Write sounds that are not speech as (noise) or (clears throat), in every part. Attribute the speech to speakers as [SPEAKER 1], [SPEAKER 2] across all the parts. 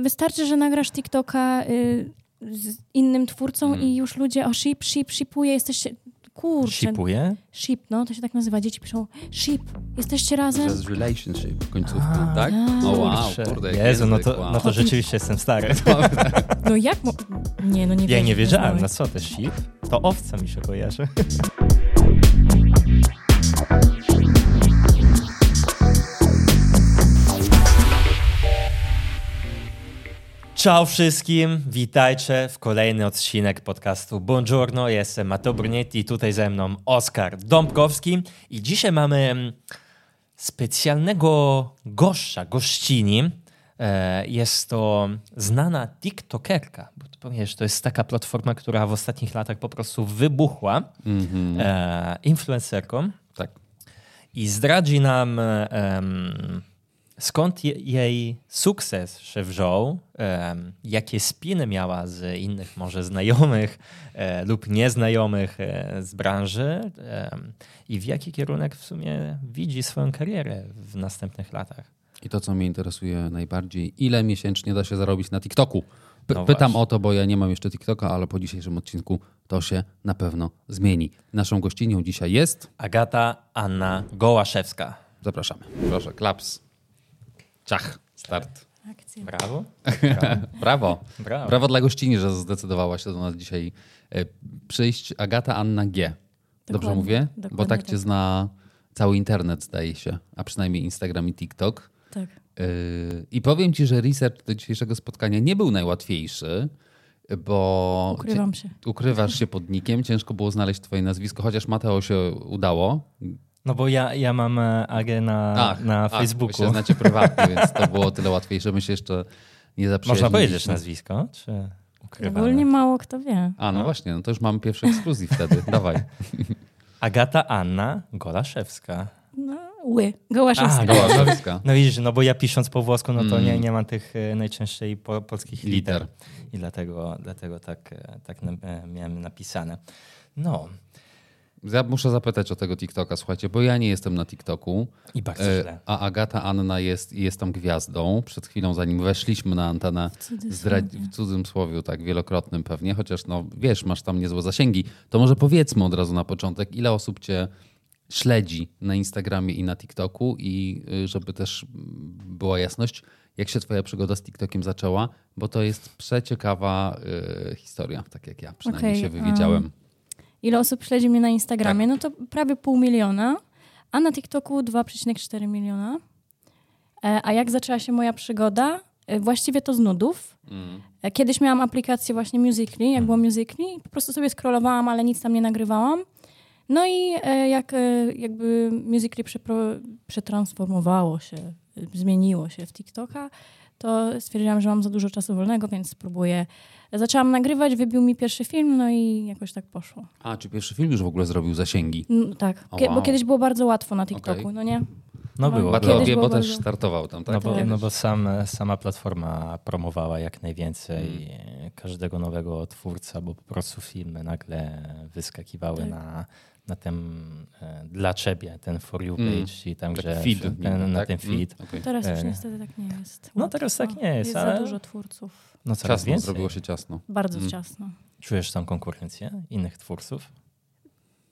[SPEAKER 1] Wystarczy, że nagrasz TikToka y, z innym twórcą
[SPEAKER 2] Mhm.
[SPEAKER 1] i już ludzie, o ship, ship, shipuje, jesteście... Kurczę,
[SPEAKER 2] Shipuje?
[SPEAKER 1] ship, no to się tak nazywa, dzieci piszą, ship, jesteście razem?
[SPEAKER 3] Przez relationship końcówkę,
[SPEAKER 2] A.
[SPEAKER 3] tak?
[SPEAKER 1] A.
[SPEAKER 3] O wow,
[SPEAKER 2] Kurczę.
[SPEAKER 3] kurde. jak
[SPEAKER 2] Jezu, no
[SPEAKER 3] język,
[SPEAKER 2] to,
[SPEAKER 3] wow.
[SPEAKER 2] no to rzeczywiście jestem
[SPEAKER 3] (laughs)
[SPEAKER 2] stary.
[SPEAKER 1] No jak? Mo- nie, no nie wierzę,
[SPEAKER 2] Ja
[SPEAKER 1] że
[SPEAKER 2] nie
[SPEAKER 1] to
[SPEAKER 2] wiedziałem,
[SPEAKER 1] znałeś.
[SPEAKER 2] na co też ship? To owca mi się kojarzy. (laughs) Ciao wszystkim, witajcie w kolejny odcinek podcastu Buongiorno, jestem Matteo Brunetti, tutaj ze mną Oskar Dąbkowski i dzisiaj mamy mm, specjalnego gościa, gościni. E, Jest to znana TikTokerka, bo to powiem, że to jest taka platforma, która w ostatnich latach po prostu wybuchła e, influencerką
[SPEAKER 3] Tak.
[SPEAKER 2] i zdradzi nam, e, em, skąd je, jej sukces się wziął, em, jakie spiny miała z innych może znajomych e, lub nieznajomych e, z branży em, i w jaki kierunek w sumie widzi swoją karierę w następnych latach.
[SPEAKER 3] I to, co mnie interesuje najbardziej, ile miesięcznie da się zarobić na TikToku? P-
[SPEAKER 2] No
[SPEAKER 3] pytam
[SPEAKER 2] właśnie.
[SPEAKER 3] o to, bo ja nie mam jeszcze TikToka, ale po dzisiejszym odcinku to się na pewno zmieni. Naszą gościnią dzisiaj jest.
[SPEAKER 2] Agata Anna Gołaszewska.
[SPEAKER 3] Zapraszamy. Proszę, klaps. Ciach, start.
[SPEAKER 2] no.
[SPEAKER 1] Akcja.
[SPEAKER 2] Brawo.
[SPEAKER 3] Brawo.
[SPEAKER 1] Tak.
[SPEAKER 2] Brawo.
[SPEAKER 3] Brawo dla gościni, że zdecydowała się do nas dzisiaj e, przyjść. Agata Anna G. Dobrze
[SPEAKER 1] Dokładnie,
[SPEAKER 3] mówię? Bo
[SPEAKER 1] dokładnie
[SPEAKER 3] tak cię
[SPEAKER 1] tak.
[SPEAKER 3] zna cały internet, zdaje się, a przynajmniej Instagram i TikTok.
[SPEAKER 1] Tak.
[SPEAKER 3] Yy, I powiem ci, że research do dzisiejszego spotkania nie był najłatwiejszy, bo
[SPEAKER 1] Ukrywam się.
[SPEAKER 3] cię- ukrywasz się pod nikiem, ciężko było znaleźć twoje nazwisko, chociaż Mateo się udało.
[SPEAKER 2] No bo ja, ja mam e, Agę na, na
[SPEAKER 3] ach,
[SPEAKER 2] Facebooku.
[SPEAKER 3] Wy się znacie prywatnie, więc to było o tyle łatwiejsze. My się jeszcze nie zaprzyjaźniliśmy.
[SPEAKER 2] Można powiedzieć no. nazwisko? Czy ukrywane?
[SPEAKER 1] Ogólnie mało kto wie.
[SPEAKER 3] A, no właśnie, no to już mamy pierwszy ekskluzji wtedy. Dawaj.
[SPEAKER 2] Agata Anna Golaszewska.
[SPEAKER 1] No, ły, Gołaszewska.
[SPEAKER 2] A,
[SPEAKER 3] Goła
[SPEAKER 2] no,
[SPEAKER 3] Żarska.
[SPEAKER 2] no widzisz, no bo ja pisząc po włosku, no to nie, nie mam tych e, najczęściej po, polskich liter.
[SPEAKER 3] Mm. Liter.
[SPEAKER 2] I dlatego, dlatego tak, e, tak na, e, miałem napisane. No
[SPEAKER 3] Ja muszę zapytać o tego TikToka, słuchajcie, bo ja nie jestem na TikToku.
[SPEAKER 2] i bardzo
[SPEAKER 3] E,
[SPEAKER 2] źle.
[SPEAKER 3] A Agata Anna jest, jest tam gwiazdą. Przed chwilą, zanim weszliśmy na antenę, zdra- w cudzysłowie, tak wielokrotnym pewnie, chociaż no wiesz, masz tam niezłe zasięgi. To może powiedzmy od razu na początek, ile osób cię śledzi na Instagramie i na TikToku i y, żeby też mm, była jasność, jak się twoja przygoda z TikTokiem zaczęła, bo to jest przeciekawa y, historia, tak jak ja przynajmniej
[SPEAKER 1] Okej,
[SPEAKER 3] się wywiedziałem.
[SPEAKER 1] Ile osób śledzi mnie na Instagramie? No to prawie pół miliona, a na TikToku 2,4 miliona. E, A jak zaczęła się moja przygoda? E, Właściwie to z nudów. E, Kiedyś miałam aplikację właśnie Musical.ly, jak było Musical.ly, po prostu sobie scrollowałam, ale nic tam nie nagrywałam. No i e, jak e, jakby Musical.ly przepro- przetransformowało się, e, zmieniło się w TikToka, to stwierdziłam, że mam za dużo czasu wolnego, więc spróbuję. Zaczęłam nagrywać, wybił mi pierwszy film, no i jakoś tak poszło.
[SPEAKER 3] A, czy pierwszy film już w ogóle zrobił zasięgi?
[SPEAKER 1] No, tak,
[SPEAKER 3] O,
[SPEAKER 1] Kie-
[SPEAKER 3] wow.
[SPEAKER 1] bo kiedyś było bardzo łatwo na TikToku,
[SPEAKER 3] Okej.
[SPEAKER 1] no nie?
[SPEAKER 2] No
[SPEAKER 1] no,
[SPEAKER 2] było.
[SPEAKER 1] Kiedyś
[SPEAKER 3] Battle
[SPEAKER 2] było.
[SPEAKER 3] of Biebo
[SPEAKER 1] było
[SPEAKER 3] też
[SPEAKER 1] bardzo-
[SPEAKER 3] startował tam, tak?
[SPEAKER 2] No bo,
[SPEAKER 1] tak.
[SPEAKER 2] no bo sam, sama platforma promowała jak najwięcej
[SPEAKER 3] Mm.
[SPEAKER 2] każdego nowego twórca, bo po prostu filmy nagle wyskakiwały
[SPEAKER 1] Tak.
[SPEAKER 2] na, na tym e, dla ciebie, ten for you page
[SPEAKER 3] Mm.
[SPEAKER 2] i tam,
[SPEAKER 3] Tak,
[SPEAKER 2] gdzie
[SPEAKER 3] feed
[SPEAKER 2] ten,
[SPEAKER 3] niby,
[SPEAKER 2] na
[SPEAKER 3] tak?
[SPEAKER 2] tym
[SPEAKER 3] Mm,
[SPEAKER 2] feed.
[SPEAKER 3] okej.
[SPEAKER 1] Teraz już
[SPEAKER 2] E.
[SPEAKER 1] niestety tak nie jest.
[SPEAKER 2] No
[SPEAKER 1] Łatwo.
[SPEAKER 2] teraz tak nie jest,
[SPEAKER 1] Jest
[SPEAKER 2] ale-
[SPEAKER 1] za dużo twórców.
[SPEAKER 2] No coraz
[SPEAKER 3] Ciasno,
[SPEAKER 2] więcej.
[SPEAKER 3] zrobiło się ciasno.
[SPEAKER 1] Bardzo no. ciasno.
[SPEAKER 2] Czujesz tam konkurencję innych twórców?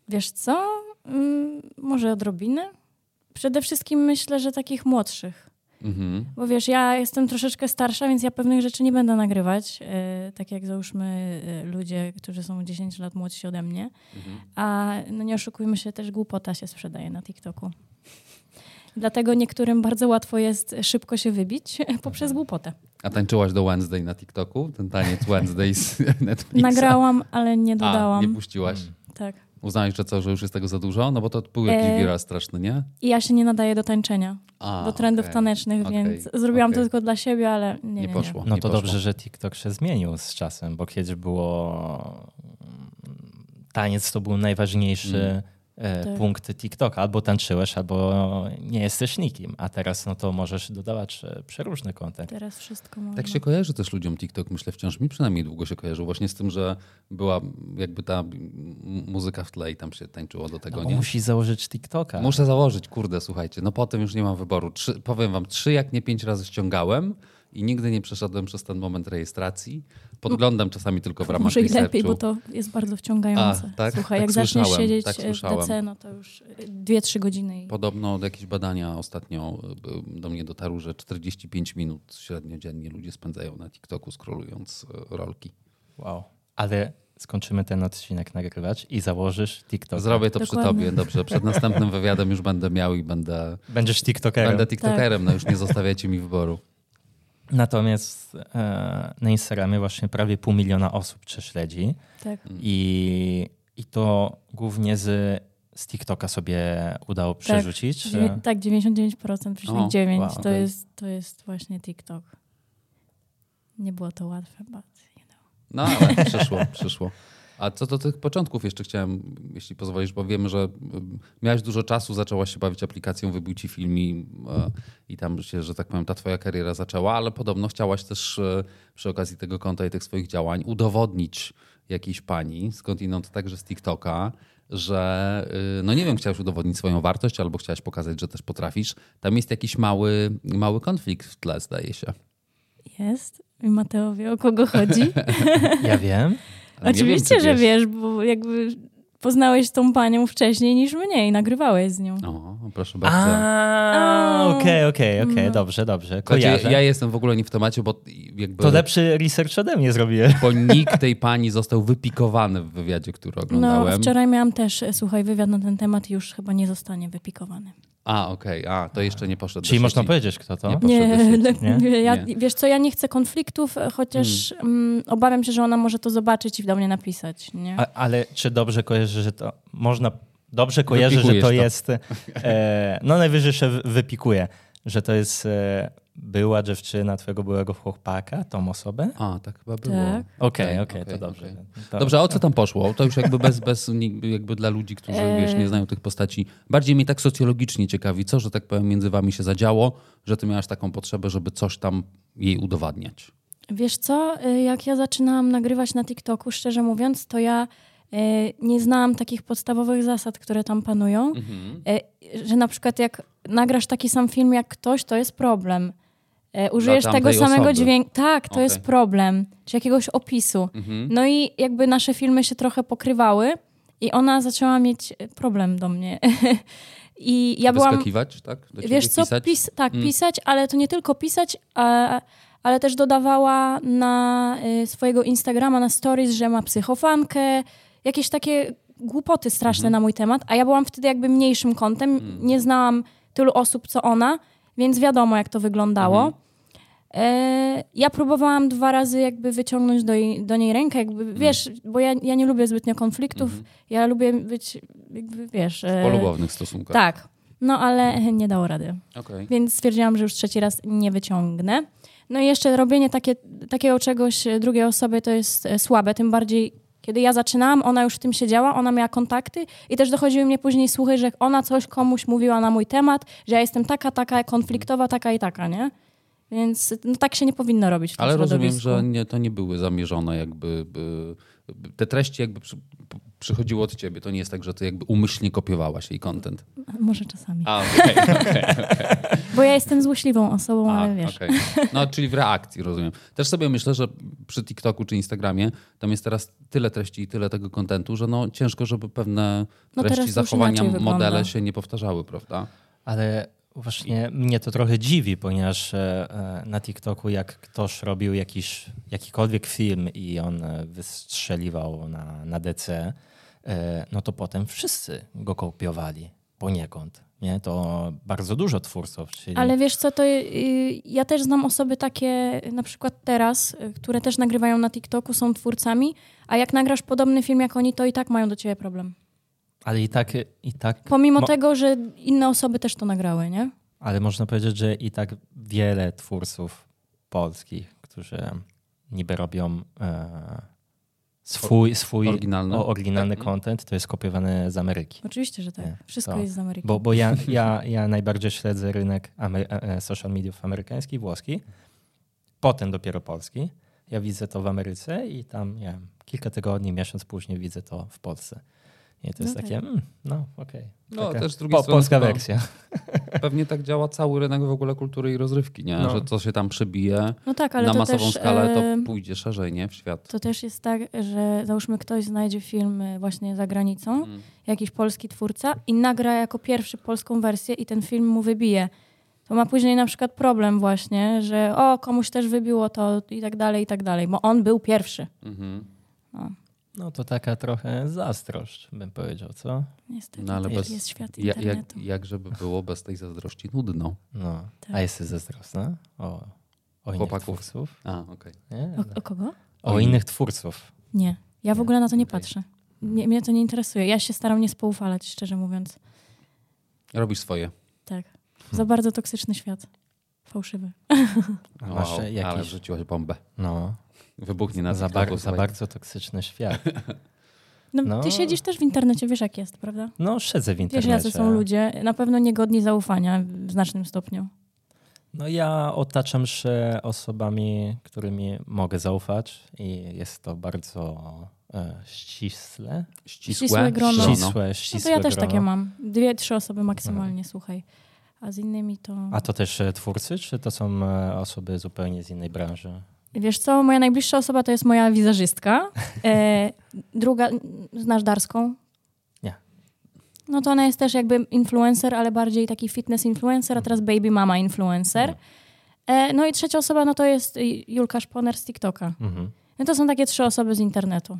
[SPEAKER 1] Wiesz co? Mm, może odrobinę? Przede wszystkim myślę, że takich młodszych.
[SPEAKER 3] Mhm.
[SPEAKER 1] Bo wiesz, ja jestem troszeczkę starsza, więc ja pewnych rzeczy nie będę nagrywać. e, tak jak załóżmy e, ludzie, którzy są 10 lat młodsi ode mnie.
[SPEAKER 3] Mhm.
[SPEAKER 1] A no nie oszukujmy się, też głupota się sprzedaje na TikToku. Dlatego niektórym bardzo łatwo jest szybko się wybić (laughs) poprzez głupotę.
[SPEAKER 3] A tańczyłaś do Wednesday na TikToku?
[SPEAKER 2] (laughs)
[SPEAKER 3] Ten taniec Wednesday z Netflixa?
[SPEAKER 1] Nagrałam, ale nie
[SPEAKER 3] A,
[SPEAKER 1] dodałam.
[SPEAKER 3] nie puściłaś.
[SPEAKER 2] Mm.
[SPEAKER 1] Tak.
[SPEAKER 3] Uznałeś, że co, że już jest tego za dużo? No bo to był jakiś
[SPEAKER 1] E,
[SPEAKER 3] viral straszny, nie?
[SPEAKER 1] I ja się nie nadaję do tańczenia,
[SPEAKER 3] A,
[SPEAKER 1] do trendów
[SPEAKER 3] okej.
[SPEAKER 1] tanecznych,
[SPEAKER 3] Okej,
[SPEAKER 1] więc zrobiłam to
[SPEAKER 3] okej.
[SPEAKER 1] tylko dla siebie, ale nie, nie,
[SPEAKER 3] Nie
[SPEAKER 1] nie.
[SPEAKER 3] poszło.
[SPEAKER 2] No
[SPEAKER 3] nie
[SPEAKER 2] to
[SPEAKER 3] poszło.
[SPEAKER 2] dobrze, że TikTok się zmienił z czasem, bo kiedyś było. mm, Taniec to był najważniejszy
[SPEAKER 3] Mm.
[SPEAKER 2] e,
[SPEAKER 1] Tak.
[SPEAKER 2] punkt TikToka. Albo tańczyłeś, albo nie jesteś nikim. A teraz no to możesz dodawać e, przeróżny kontent.
[SPEAKER 1] Teraz wszystko można.
[SPEAKER 3] Tak się kojarzy też ludziom TikTok, myślę, wciąż mi przynajmniej długo się kojarzył. Właśnie z tym, że była jakby ta mm, muzyka w tle i tam się tańczyło do tego,
[SPEAKER 2] No, bo
[SPEAKER 3] nie?
[SPEAKER 2] musisz założyć TikToka.
[SPEAKER 3] Muszę założyć, kurde, słuchajcie. No potem już nie mam wyboru. Trzy, powiem wam, trzy jak nie pięć razy ściągałem i nigdy nie przeszedłem przez ten moment rejestracji. Podglądam czasami tylko w ramach
[SPEAKER 1] Może i
[SPEAKER 3] researchu.
[SPEAKER 1] lepiej, bo to jest bardzo wciągające.
[SPEAKER 3] A, tak?
[SPEAKER 1] Słuchaj,
[SPEAKER 3] Tak
[SPEAKER 1] jak zaczniesz
[SPEAKER 3] słyszałem,
[SPEAKER 1] siedzieć
[SPEAKER 3] tak
[SPEAKER 1] e, w
[SPEAKER 3] słyszałem.
[SPEAKER 1] DC, no to już 2-3 godziny. I...
[SPEAKER 3] Podobno jakieś badania ostatnio y, do mnie dotarły, że 45 minut średnio dziennie ludzie spędzają na TikToku scrollując y, rolki.
[SPEAKER 2] Wow. Ale skończymy ten odcinek nagrywać i założysz TikTok.
[SPEAKER 3] Zrobię to przy
[SPEAKER 1] Dokładnie.
[SPEAKER 3] tobie, dobrze. Przed następnym wywiadem już będę miał i będę,
[SPEAKER 2] Będziesz TikTokerem.
[SPEAKER 3] będę TikTokerem, no już
[SPEAKER 1] Tak.
[SPEAKER 3] nie zostawiacie mi wyboru.
[SPEAKER 2] Natomiast e, na Instagramie właśnie prawie pół miliona osób prześledzi
[SPEAKER 1] Tak.
[SPEAKER 2] i, i to głównie z, z TikToka sobie udało przerzucić.
[SPEAKER 1] Dziewię- tak, 99,9
[SPEAKER 2] O, wow,
[SPEAKER 1] to,
[SPEAKER 2] okej.
[SPEAKER 1] jest, to jest właśnie TikTok. Nie było to łatwe, but, you know.
[SPEAKER 3] (laughs) No ale przyszło, przyszło. A co do tych początków jeszcze chciałem, jeśli pozwolisz, bo wiem, że mm, miałeś dużo czasu, zaczęłaś się bawić aplikacją, wybił ci film i, e, i tam się, że tak powiem, ta twoja kariera zaczęła, ale podobno chciałaś też e, przy okazji tego konta i tych swoich działań udowodnić jakiejś pani, skądinąd także z TikToka, że y, no nie wiem, chciałaś udowodnić swoją wartość albo chciałaś pokazać, że też potrafisz. Tam jest jakiś mały, mały konflikt w tle, zdaje się.
[SPEAKER 1] Jest. I Mateo wie, o kogo
[SPEAKER 3] (laughs)
[SPEAKER 1] chodzi.
[SPEAKER 2] Ja wiem.
[SPEAKER 3] Ale nie wiem,
[SPEAKER 1] Oczywiście,
[SPEAKER 3] czy
[SPEAKER 1] że wiesz, bo jakby poznałeś tą panią wcześniej niż mnie i nagrywałeś z nią.
[SPEAKER 3] O, proszę (laughs) bardzo.
[SPEAKER 2] A, Okej, okej, okej, dobrze, dobrze.
[SPEAKER 3] Znaczy, ja
[SPEAKER 2] Kojarzę.
[SPEAKER 3] jestem w ogóle nie w temacie, bo jakby
[SPEAKER 2] To lepszy research ode mnie
[SPEAKER 3] (laughs)
[SPEAKER 2] zrobiłem.
[SPEAKER 3] bo nick tej pani został wypikowany w wywiadzie, który
[SPEAKER 1] No,
[SPEAKER 3] oglądałem.
[SPEAKER 1] wczoraj miałam też, e, słuchaj, wywiad na ten temat i już chyba nie zostanie wypikowany.
[SPEAKER 3] A, okej, a to jeszcze nie poszedł. do
[SPEAKER 2] Czyli można
[SPEAKER 3] sieci.
[SPEAKER 2] powiedzieć, kto to?
[SPEAKER 3] Nie
[SPEAKER 2] Okej,
[SPEAKER 3] powiem. Poszedł do
[SPEAKER 1] Nie,
[SPEAKER 3] sieci,
[SPEAKER 1] (laughs) lepiej-
[SPEAKER 2] nie?
[SPEAKER 1] Ja,
[SPEAKER 3] Nie. Hmm.
[SPEAKER 1] wiesz co, ja nie chcę konfliktów, e, chociaż mm, obawiam się, że ona może to zobaczyć i do mnie napisać, nie?
[SPEAKER 2] A, ale czy dobrze kojarzy, że to można. Dobrze kojarzy, że to,
[SPEAKER 3] Wypikujesz to.
[SPEAKER 2] jest. E, no najwyżej się wy- wypikuje, że to jest e, była dziewczyna twojego byłego chłopaka, tą osobę.
[SPEAKER 3] A, tak chyba było.
[SPEAKER 1] Tak.
[SPEAKER 2] Okej,
[SPEAKER 3] Okej,
[SPEAKER 2] okej,
[SPEAKER 3] okej,
[SPEAKER 2] to dobrze.
[SPEAKER 3] okej.
[SPEAKER 2] To,
[SPEAKER 3] Dobrze, a o co tam poszło? To już jakby bez, bez ni- jakby dla ludzi, którzy
[SPEAKER 1] E,
[SPEAKER 3] wiesz, nie znają tych postaci. Bardziej mnie tak socjologicznie ciekawi, co, że tak powiem, między wami się zadziało, że ty miałaś taką potrzebę, żeby coś tam jej udowadniać.
[SPEAKER 1] Wiesz co, y, jak ja zaczynałam nagrywać na TikToku, szczerze mówiąc, to ja y, nie znałam takich podstawowych zasad, które tam panują,
[SPEAKER 3] Mhm.
[SPEAKER 1] Y, że na przykład jak nagrasz taki sam film jak ktoś, to jest problem. Y, Użyjesz tego
[SPEAKER 3] tamtej
[SPEAKER 1] samego
[SPEAKER 3] osoby.
[SPEAKER 1] dźwięku, tak, to
[SPEAKER 3] Okej. Mhm.
[SPEAKER 1] jest problem, czy jakiegoś opisu. No i jakby nasze filmy się trochę pokrywały i ona zaczęła mieć y, problem do mnie. (laughs) I ja byłam
[SPEAKER 3] Wyskakiwać, tak? Do ciebie
[SPEAKER 1] Wiesz co,
[SPEAKER 3] pisać?
[SPEAKER 1] Pis- tak, pisać, ale to nie tylko pisać, a, ale też dodawała na y, swojego Instagrama, na stories, że ma psychofankę, jakieś takie głupoty straszne na mój temat, a ja byłam wtedy jakby mniejszym kątem, nie znałam tylu osób, co ona, więc wiadomo, jak to wyglądało. E, Ja próbowałam dwa razy jakby wyciągnąć do, jej, do niej rękę, jakby, wiesz, bo ja, ja nie lubię zbytnio konfliktów, ja lubię być, jakby, wiesz... e,
[SPEAKER 3] Polubownych stosunkach.
[SPEAKER 1] tak, no ale (laughs) nie dało rady.
[SPEAKER 3] Okej.
[SPEAKER 1] Więc stwierdziłam, że już trzeci raz nie wyciągnę. No i jeszcze robienie takie, takiego czegoś e, drugiej osobie to jest e, słabe, tym bardziej kiedy ja zaczynałam, ona już w tym siedziała, ona miała kontakty i też dochodziły mnie później słuchy, że ona coś komuś mówiła na mój temat, że ja jestem taka, taka, konfliktowa, taka i taka, nie? Więc no, tak się nie powinno robić w tym
[SPEAKER 3] Ale rozumiem,
[SPEAKER 1] środowisku.
[SPEAKER 3] że nie, to nie były zamierzone jakby... by- by- Te treści jakby przy, p- przychodziły od ciebie. To nie jest tak, że ty jakby umyślnie kopiowałaś jej content.
[SPEAKER 1] (laughs) Może czasami.
[SPEAKER 3] A, okej,
[SPEAKER 1] (laughs) Bo ja jestem złośliwą osobą, ale wiesz.
[SPEAKER 3] okej. No, czyli w reakcji, rozumiem. Też sobie myślę, że przy TikToku czy Instagramie tam jest teraz tyle treści i tyle tego kontentu, że no ciężko, żeby pewne
[SPEAKER 1] No,
[SPEAKER 3] treści,
[SPEAKER 1] teraz już
[SPEAKER 3] zachowania,
[SPEAKER 1] inaczej wygląda.
[SPEAKER 3] modele się nie powtarzały, prawda?
[SPEAKER 2] Ale właśnie mnie to trochę dziwi, ponieważ e, e, na TikToku jak ktoś robił jakiś, jakikolwiek film i on e, wystrzeliwał na, na DC, e, no to potem wszyscy go kopiowali poniekąd. Nie? To bardzo dużo twórców. Czyli...
[SPEAKER 1] Ale wiesz co, to y, ja też znam osoby takie, na przykład teraz, y, które też nagrywają na TikToku, są twórcami, a jak nagrasz podobny film jak oni, to i tak mają do ciebie problem.
[SPEAKER 2] Ale i tak, i tak
[SPEAKER 1] Pomimo
[SPEAKER 2] Mo-
[SPEAKER 1] tego, że inne osoby też to nagrały, nie?
[SPEAKER 2] ale można powiedzieć, że i tak wiele twórców polskich, którzy niby robią e, swój, swój
[SPEAKER 3] Oryginalny.
[SPEAKER 2] o, oryginalny
[SPEAKER 3] Tak.
[SPEAKER 2] content, to jest kopiowany z Ameryki.
[SPEAKER 1] Oczywiście, że tak.
[SPEAKER 2] Nie,
[SPEAKER 1] Wszystko
[SPEAKER 2] to-
[SPEAKER 1] jest z Ameryki.
[SPEAKER 2] Bo, bo ja, ja, ja najbardziej śledzę rynek amery- e, e, social mediów amerykański, włoski, potem dopiero polski. Ja widzę to w Ameryce i tam nie wiem, kilka tygodni, miesiąc później widzę to w Polsce. I to jest
[SPEAKER 1] No tak.
[SPEAKER 2] takie, mm, no okej.
[SPEAKER 3] No,
[SPEAKER 2] Taka
[SPEAKER 3] też z drugiej strony
[SPEAKER 2] Polska
[SPEAKER 3] chyba-
[SPEAKER 2] wersja.
[SPEAKER 3] Pewnie tak działa cały rynek w ogóle kultury i rozrywki, nie?
[SPEAKER 2] No.
[SPEAKER 3] Że co się tam przybije
[SPEAKER 1] No tak, ale
[SPEAKER 3] na
[SPEAKER 1] to
[SPEAKER 3] masową
[SPEAKER 1] też,
[SPEAKER 3] skalę,
[SPEAKER 1] e,
[SPEAKER 3] to pójdzie szerzej, nie? W świat.
[SPEAKER 1] To też jest tak, że załóżmy ktoś znajdzie film y, właśnie za granicą,
[SPEAKER 3] Mm.
[SPEAKER 1] jakiś polski twórca i nagra jako pierwszy polską wersję i ten film mu wybije. To ma później na przykład problem właśnie, że o, komuś też wybiło to i tak dalej, i tak dalej, bo on był pierwszy.
[SPEAKER 3] Mhm.
[SPEAKER 2] No to taka trochę zazdrość, bym powiedział, co?
[SPEAKER 1] Niestety,
[SPEAKER 3] No, ale
[SPEAKER 1] taki
[SPEAKER 3] bez-
[SPEAKER 1] jest świat
[SPEAKER 3] Ja, jak,
[SPEAKER 1] internetu.
[SPEAKER 3] jak żeby było bez tej zazdrości nudno.
[SPEAKER 2] No.
[SPEAKER 1] Tak.
[SPEAKER 2] A jesteś zazdrosna? O, o innych
[SPEAKER 3] Chłopaków.
[SPEAKER 2] twórców?
[SPEAKER 3] A, okej.
[SPEAKER 2] Nie?
[SPEAKER 1] O, o kogo?
[SPEAKER 2] O innych twórców.
[SPEAKER 1] Nie. Ja w ogóle na to nie
[SPEAKER 2] Okej.
[SPEAKER 1] patrzę. Nie, mnie to nie interesuje. Ja się staram nie spoufalać, szczerze mówiąc.
[SPEAKER 3] Robisz swoje.
[SPEAKER 1] Tak. Za
[SPEAKER 3] Hmm.
[SPEAKER 1] bardzo toksyczny świat. Fałszywy.
[SPEAKER 2] A
[SPEAKER 3] Wow,
[SPEAKER 2] Masz
[SPEAKER 3] Ale
[SPEAKER 2] jakieś...
[SPEAKER 3] rzuciłaś bombę.
[SPEAKER 2] No,
[SPEAKER 3] Wybuchnie na
[SPEAKER 2] za,
[SPEAKER 3] TikToku,
[SPEAKER 2] bar- za
[SPEAKER 3] słuchaj.
[SPEAKER 2] bardzo toksyczny świat.
[SPEAKER 1] No,
[SPEAKER 2] No.
[SPEAKER 1] Ty siedzisz też w internecie, wiesz jak jest, prawda?
[SPEAKER 2] No, siedzę w
[SPEAKER 1] Wiesz,
[SPEAKER 2] internecie.
[SPEAKER 1] jacy są ludzie. Na pewno niegodni zaufania w znacznym stopniu.
[SPEAKER 2] No ja otaczam się osobami, którymi mogę zaufać i jest to bardzo e, ścisłe.
[SPEAKER 3] Ścisłe,
[SPEAKER 1] Ścisłe grono.
[SPEAKER 3] ścisłe.
[SPEAKER 2] Ścisłe,
[SPEAKER 1] No to
[SPEAKER 2] ścisłe
[SPEAKER 1] ja też
[SPEAKER 2] grono.
[SPEAKER 1] takie mam. Dwie, trzy osoby maksymalnie, słuchaj. A z innymi to...
[SPEAKER 2] A to też e, twórcy, czy to są e, osoby zupełnie z innej branży?
[SPEAKER 1] Wiesz co, moja najbliższa osoba to jest moja
[SPEAKER 2] (laughs)
[SPEAKER 1] wizerzystka. E, druga, znasz Darską?
[SPEAKER 2] Nie.
[SPEAKER 1] No to ona jest też jakby influencer, ale bardziej taki fitness influencer, a
[SPEAKER 2] Mm.
[SPEAKER 1] teraz baby mama influencer. E, no i trzecia osoba, no to jest y, Julka Szponer z TikToka.
[SPEAKER 2] Mhm.
[SPEAKER 1] No to są takie trzy osoby z internetu.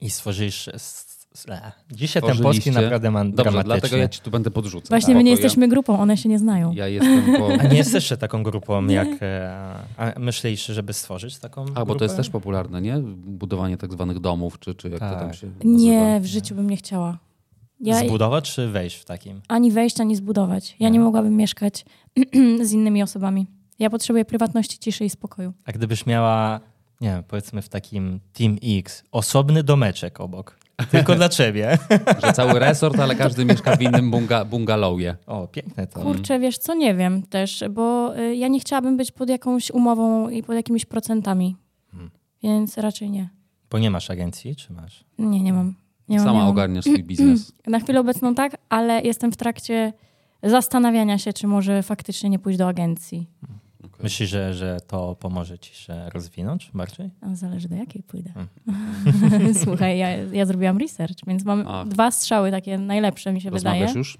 [SPEAKER 2] I stworzysz... s- s- e, Dzisiaj ten
[SPEAKER 3] Stworzyliście-
[SPEAKER 2] polski naprawdę ma
[SPEAKER 3] Dobrze,
[SPEAKER 2] dramatyczny.
[SPEAKER 3] dlatego ja ci tu będę podrzucał. Tak,
[SPEAKER 1] Właśnie my nie
[SPEAKER 3] Bo
[SPEAKER 1] jesteśmy grupą, one się nie znają.
[SPEAKER 3] Ja, ja jestem po...
[SPEAKER 2] (laughs) A nie jesteś jeszcze taką grupą, jak... E, a myślisz, żeby stworzyć taką
[SPEAKER 3] A, bo
[SPEAKER 2] grupę?
[SPEAKER 3] to jest też popularne, nie? Budowanie tak zwanych domów, czy, czy jak to tam
[SPEAKER 2] Tak.
[SPEAKER 3] się nazywa.
[SPEAKER 1] nie, w życiu bym nie chciała. Ja
[SPEAKER 2] Zbudować czy wejść w takim?
[SPEAKER 1] ani wejść, ani zbudować. Ja nie mogłabym mieszkać (clears throat) z innymi osobami. Ja potrzebuję prywatności, ciszy i spokoju.
[SPEAKER 2] A gdybyś miała, nie wiem, powiedzmy w takim Team X, osobny domeczek obok, tylko dla
[SPEAKER 3] (laughs)
[SPEAKER 2] ciebie.
[SPEAKER 3] Że cały resort, ale każdy mieszka w innym bunga, bungalowie.
[SPEAKER 2] O, piękne
[SPEAKER 3] Tak.
[SPEAKER 2] to.
[SPEAKER 1] Kurczę, wiesz co, nie wiem też, bo y, ja nie chciałabym być pod jakąś umową i pod jakimiś procentami.
[SPEAKER 3] Hmm.
[SPEAKER 1] Więc raczej nie.
[SPEAKER 2] Bo nie masz agencji, czy masz?
[SPEAKER 1] Nie, nie mam. Nie mam, nie
[SPEAKER 3] Sama
[SPEAKER 1] mam.
[SPEAKER 3] ogarniasz swój biznes.
[SPEAKER 1] Na chwilę obecną tak, ale jestem w trakcie zastanawiania się, czy może faktycznie nie pójść do agencji.
[SPEAKER 2] Myślisz, że, że to pomoże ci się rozwinąć bardziej?
[SPEAKER 1] A zależy do jakiej pójdę. (laughs) Słuchaj, ja, ja zrobiłam research, więc mam
[SPEAKER 3] Mhm. A.
[SPEAKER 1] dwa strzały takie najlepsze, mi się
[SPEAKER 3] Rozmawiasz
[SPEAKER 1] wydaje.
[SPEAKER 3] już?